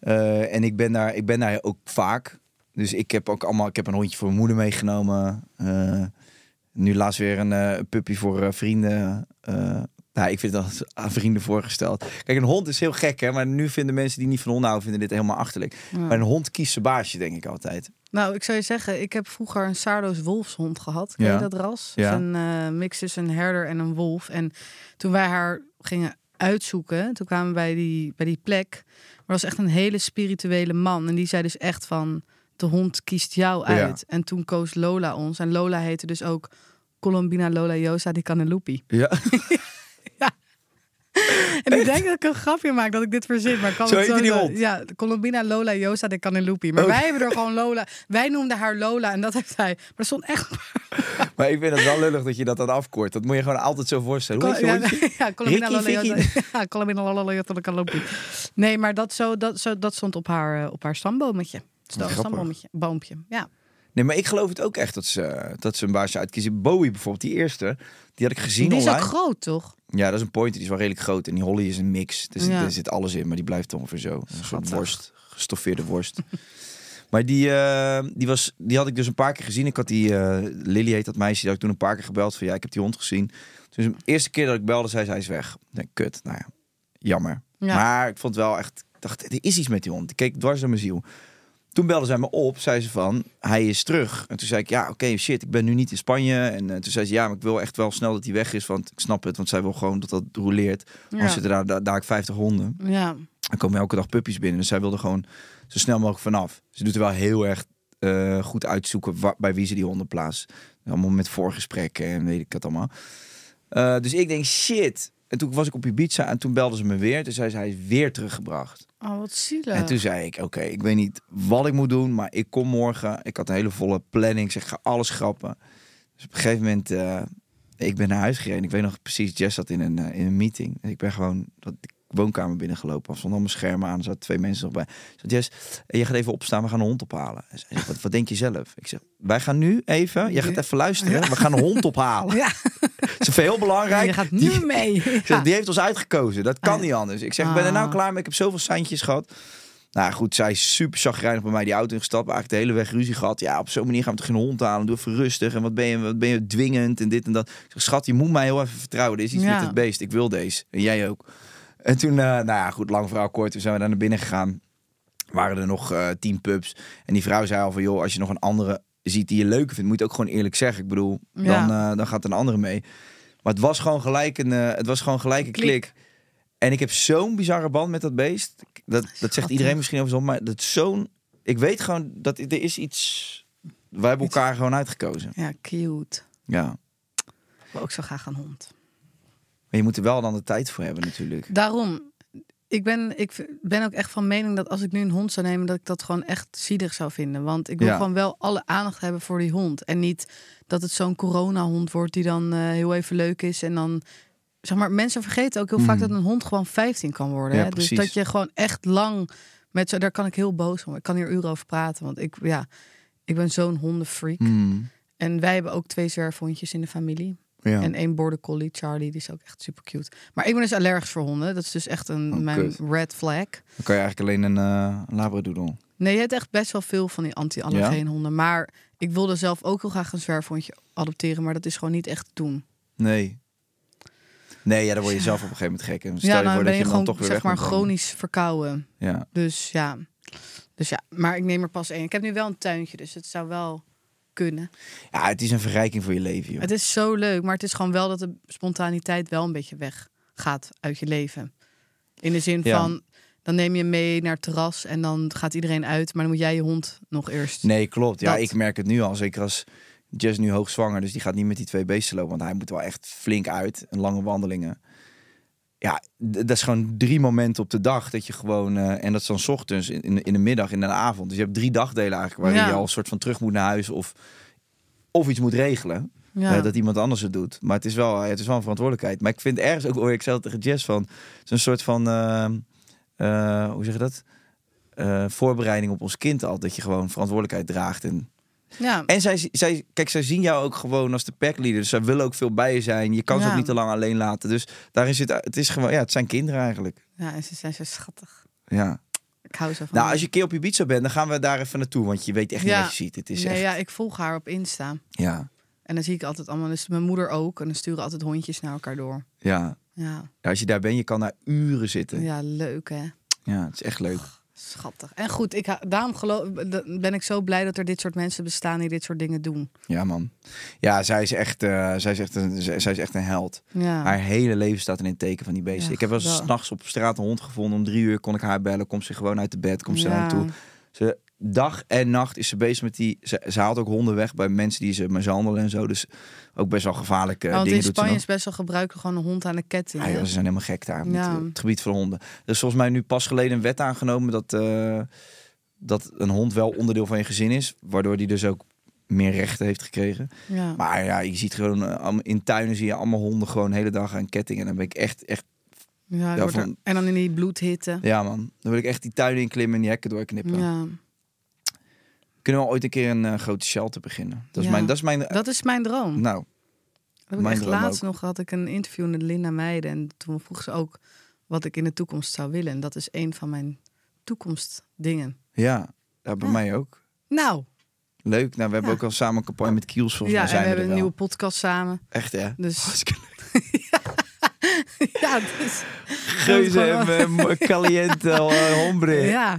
C: Eh, en ik ben, daar, ik ben daar ook vaak. Dus ik heb ook allemaal... Ik heb een hondje voor mijn moeder meegenomen. Eh, nu laatst weer een eh, puppy voor eh, vrienden. Eh, nou, ik vind dat aan vrienden voorgesteld. Kijk, een hond is heel gek, hè. Maar nu vinden mensen die niet van honden houden... vinden dit helemaal achterlijk. Maar een hond kiest zijn baasje, denk ik altijd.
B: Nou, ik zou je zeggen, ik heb vroeger een Sardo's wolfshond gehad. Ken je
C: Ja.
B: dat ras?
C: Ja.
B: Dat is een eh, mix tussen een herder en een wolf. En toen wij haar gingen uitzoeken, toen kwamen we bij die, bij die plek. Maar dat was echt een hele spirituele man. En die zei dus echt van, de hond kiest jou
C: Ja.
B: uit. En toen koos Lola ons. En Lola heette dus ook Colombina Lola Yosa di Canelupi.
C: Ja.
B: En ik denk dat ik een grapje maak dat ik dit verzin. Maar ik kan
C: Zo
B: het
C: heette die
B: zeggen.
C: hond? Oh.
B: Ja, Colombina Lola Yosa de Canelupi. Maar wij hebben er gewoon Lola. Wij noemden haar Lola en dat heeft hij. Maar er stond echt.
C: Maar ik vind het wel lullig dat je dat dan afkoort. Dat moet je gewoon altijd zo voorstellen. Hoe heet je
B: ja,
C: hondje?
B: ja, Colombina
C: Ricky,
B: Lola
C: Vicky?
B: Yosa. Ja, Colombina Lola Yosa de Canelupi. Nee, maar dat, zo, dat, zo, dat stond op haar, eh, op haar stamboometje. Sto-
C: grappig.
B: Stamboometje. Boompje. Ja.
C: Nee, maar ik geloof het ook echt dat ze, dat ze een baasje uitkiezen. Bowie bijvoorbeeld, die eerste, die had ik gezien
B: Die is ook
C: online.
B: groot, toch?
C: ja, dat is een pointer, die is wel redelijk groot. En die Holly is een mix. Dus
B: Ja.
C: er zit alles in, maar die blijft ongeveer zo. Een soort
B: Schattig.
C: worst, gestoffeerde worst. maar die, eh, die, was, die had ik dus een paar keer gezien. Ik had die, eh, Lily heet dat meisje, die had ik toen een paar keer gebeld van ja, ik heb die hond gezien. Dus de eerste keer dat ik belde, zei ze, hij is weg. Ik denk, kut, nou ja, jammer.
B: Ja.
C: Maar ik vond wel echt, ik dacht, er is iets met die hond. Ik keek dwars door mijn ziel. Toen belde zij me op, zei ze van, hij is terug. En toen zei ik, ja, oké, shit, ik ben nu niet in Spanje. En eh, toen zei ze, ja, maar ik wil echt wel snel dat hij weg is, want ik snap het. Want zij wil gewoon dat dat roleert.
B: Ja.
C: Anders zitten daar, daar, daar 50 honden.
B: Ja.
C: Er komen elke dag puppies binnen. Dus zij wilde gewoon zo snel mogelijk vanaf. Ze doet er wel heel erg eh, goed uitzoeken wa- bij wie ze die honden plaatst. Allemaal met voorgesprekken en weet ik het allemaal. Eh, dus ik denk, shit. En toen was ik op Ibiza en toen belden ze me weer. Toen zei ze, hij is weer teruggebracht.
B: Oh, wat zielig.
C: En toen zei ik, oké, ik weet niet wat ik moet doen, maar ik kom morgen. Ik had een hele volle planning, ik zeg, ik ga alles schrappen. Dus op een gegeven moment, eh, ik ben naar huis gereden. Ik weet nog precies, Jess zat in een, eh, in een meeting. En ik ben gewoon dat de woonkamer binnengelopen. Er stonden allemaal schermen aan, er zaten twee mensen nog bij. Ik zei, Jess, eh, je gaat even opstaan, we gaan een hond ophalen. En zij zegt, wat, wat denk je zelf? Ik zeg, wij gaan nu even, jij gaat even luisteren, we gaan een hond ophalen.
B: Ja.
C: Dat is heel belangrijk.
B: Je gaat nu
C: Die-
B: mee.
C: ik zeg, die heeft ons uitgekozen. Dat kan niet anders. Ik zeg, ik ben er nou klaar mee. Ik heb zoveel seintjes gehad. Nou goed, zij is super chagrijnig bij mij die auto ingestapt. Eigenlijk de hele weg ruzie gehad. Ja, op zo'n manier gaan we toch geen hond halen. Doe even rustig. En wat ben je, wat ben je dwingend en dit en dat. Ik zeg, schat, je moet mij heel even vertrouwen. Er is iets
B: Ja.
C: met het beest. Ik wil deze. En jij ook. En toen, eh, nou ja, goed, lang verhaal kort. Toen zijn we daar naar binnen gegaan waren er nog eh, tien pubs. En die vrouw zei al van, joh, als je nog een andere ziet die je leuker vindt, moet je het ook gewoon eerlijk zeggen. Ik bedoel,
B: Ja.
C: dan, eh, dan gaat een andere mee. Maar het was gewoon gelijk een, eh, het was gewoon gelijk een klik. En ik heb zo'n bizarre band met dat beest. Dat, dat zegt iedereen misschien over zo'n, maar dat is zo'n... Ik weet gewoon dat er is iets... Wij hebben elkaar gewoon uitgekozen.
B: Ja, cute.
C: Ja. Maar
B: Maar ook zo graag een hond.
C: je moet er wel dan de tijd voor hebben natuurlijk.
B: Daarom, ik, ben, ik v- ben ook echt van mening dat als ik nu een hond zou nemen, dat ik dat gewoon echt zielig zou vinden. Want ik wil
C: Ja.
B: gewoon wel alle aandacht hebben voor die hond. En niet dat het zo'n coronahond wordt die dan eh, heel even leuk is. En dan, zeg maar, mensen vergeten ook heel vaak dat een hond gewoon 15 kan worden.
C: Mhm. Ja,
B: hè? Dus
C: precies.
B: dat je gewoon echt lang met zo, daar kan ik heel boos om. Ik kan hier uren over praten, want ik, ja, ik ben zo'n hondenfreak.
C: Hmm,
B: En wij hebben ook twee zwerfhondjes in de familie.
C: ja.
B: En één border collie, Charlie, die is ook echt super cute. Maar ik ben dus allergisch voor honden. Dat is dus echt een
C: Oh,
B: mijn
C: kut.
B: red flag.
C: Dan kan je eigenlijk alleen een eh labradoodle.
B: Nee, je hebt echt best wel veel van die anti-allergeen honden. Maar ik wilde zelf ook heel graag een zwerfhondje adopteren. Maar dat is gewoon niet echt te doen.
C: Nee. Nee, ja, dan word je zelf op een gegeven moment gek. En stel
B: ja, nou,
C: je
B: dan
C: voor dat
B: ben
C: je
B: je
C: hem dan toch
B: gewoon
C: weer
B: zeg
C: weg
B: maar
C: moet brengen.
B: chronisch verkouden.
C: Ja.
B: Dus ja. dus ja, maar ik neem er pas één. Ik heb nu wel een tuintje, dus het zou wel kunnen.
C: ja, het is een verrijking voor je leven, joh.
B: Het is zo leuk, maar het is gewoon wel dat de spontaniteit wel een beetje weggaat uit je leven. In de zin
C: Ja.
B: van, dan neem je hem mee naar het terras en dan gaat iedereen uit, maar dan moet jij je hond nog eerst.
C: Nee, klopt. Ja,
B: Dat.
C: ik merk het nu al. Zeker als Jess nu hoogzwanger, dus die gaat niet met die twee beesten lopen. Want hij moet wel echt flink uit. En lange wandelingen. Ja, d- dat is gewoon drie momenten op de dag dat je gewoon... eh, en dat is dan 's ochtends, in- in, in de middag, in de avond. Dus je hebt drie dagdelen eigenlijk waarin
B: Ja.
C: je al een soort van terug moet naar huis of, of iets moet regelen.
B: Ja.
C: Eh, dat iemand anders het doet. Maar het is wel, het is wel een verantwoordelijkheid. Maar ik vind ergens ook, hoor ik zelf tegen Jess van, het is een soort van, eh, eh, hoe zeg je dat? Eh, voorbereiding op ons kind al. Dat je gewoon verantwoordelijkheid draagt. En,
B: ja.
C: en zij, zij, kijk, zij zien jou ook gewoon als de packleader. Dus zij willen ook veel bij je zijn. Je kan ze
B: Ja.
C: ook niet te lang alleen laten. Dus daarin zit, het is gewoon, ja, het zijn kinderen eigenlijk.
B: ja, en ze zijn zo schattig.
C: Ja.
B: Ik hou zo van
C: Nou,
B: haar.
C: als je een keer op Ibiza bent, dan gaan we daar even naartoe. Want je weet echt niet
B: Ja.
C: wat je ziet. Het is
B: nee,
C: echt,
B: ja, ik volg haar op Insta.
C: ja,
B: En dan zie ik altijd allemaal, dus mijn moeder ook. En dan sturen altijd hondjes naar elkaar door.
C: ja.
B: Ja,
C: Ja, Als je daar bent, je kan daar uren zitten. Ja,
B: ja leuk hè.
C: het is echt leuk.
B: Schattig. En goed, ik, ha- daarom geloof, ben ik zo blij dat er dit soort mensen bestaan die dit soort dingen doen.
C: Ja, man. Ja, zij is echt, eh, zij is echt, een, zij, zij is echt een held.
B: Ja.
C: Haar hele leven staat in het teken van die beesten.
B: Ja,
C: ik heb wel eens
B: geweldig.
C: s'nachts op straat een hond gevonden. Om drie uur kon ik haar bellen. Komt ze gewoon uit de bed. Komt ze
B: Ja.
C: naar me toe. Ze, dag en nacht is ze bezig met die... Ze, ze haalt ook honden weg bij mensen die ze mishandelen en zo. Dus ook best wel gevaarlijke eh,
B: Ja, want
C: dingen
B: in
C: doet ze
B: Spanje
C: nog. Ah,
B: is best wel gebruikelijk gewoon een hond aan de ketting.
C: Ja,
B: hè?
C: joh, ze zijn helemaal gek daar. Met
B: Ja.
C: eh, het gebied van honden. Er is volgens mij nu pas geleden een wet aangenomen dat, eh, dat een hond wel onderdeel van je gezin is. Waardoor die dus ook meer rechten heeft gekregen.
B: Ja.
C: Maar ja, je ziet gewoon eh, allemaal- in tuinen zie je allemaal honden gewoon de hele dag aan kettingen. En dan ben ik echt, echt,
B: Ja, ik
C: Ja,
B: word er-
C: van-
B: En dan in die bloedhitte.
C: ja man, dan wil ik echt die tuinen inklimmen en die hekken doorknippen.
B: Ja.
C: Kunnen we ooit een keer een eh, grote shelter beginnen? Dat is
B: Ja.
C: mijn, dat is mijn,
B: Dat is mijn droom.
C: Eh, nou,
B: Dat heb ik
C: mijn
B: echt
C: droom
B: laatst
C: ook.
B: nog had ik een interview met Linda Meijden. En toen vroeg ze ook wat ik in de toekomst zou willen. En dat is een van mijn toekomstdingen.
C: ja, ja, bij mij ook.
B: Nou,
C: Leuk. Nou, we hebben ook al samen een campagne met Kiels. Volgens
B: ja,
C: mij
B: en
C: zijn
B: we hebben
C: we er
B: een
C: wel.
B: nieuwe podcast samen.
C: Echt hè?
B: Dus
C: Hartstikke
B: ja, dus,
C: Geuze en eh, caliente eh, hombre.
B: ja.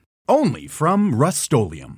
F: Only from Rust-Oleum.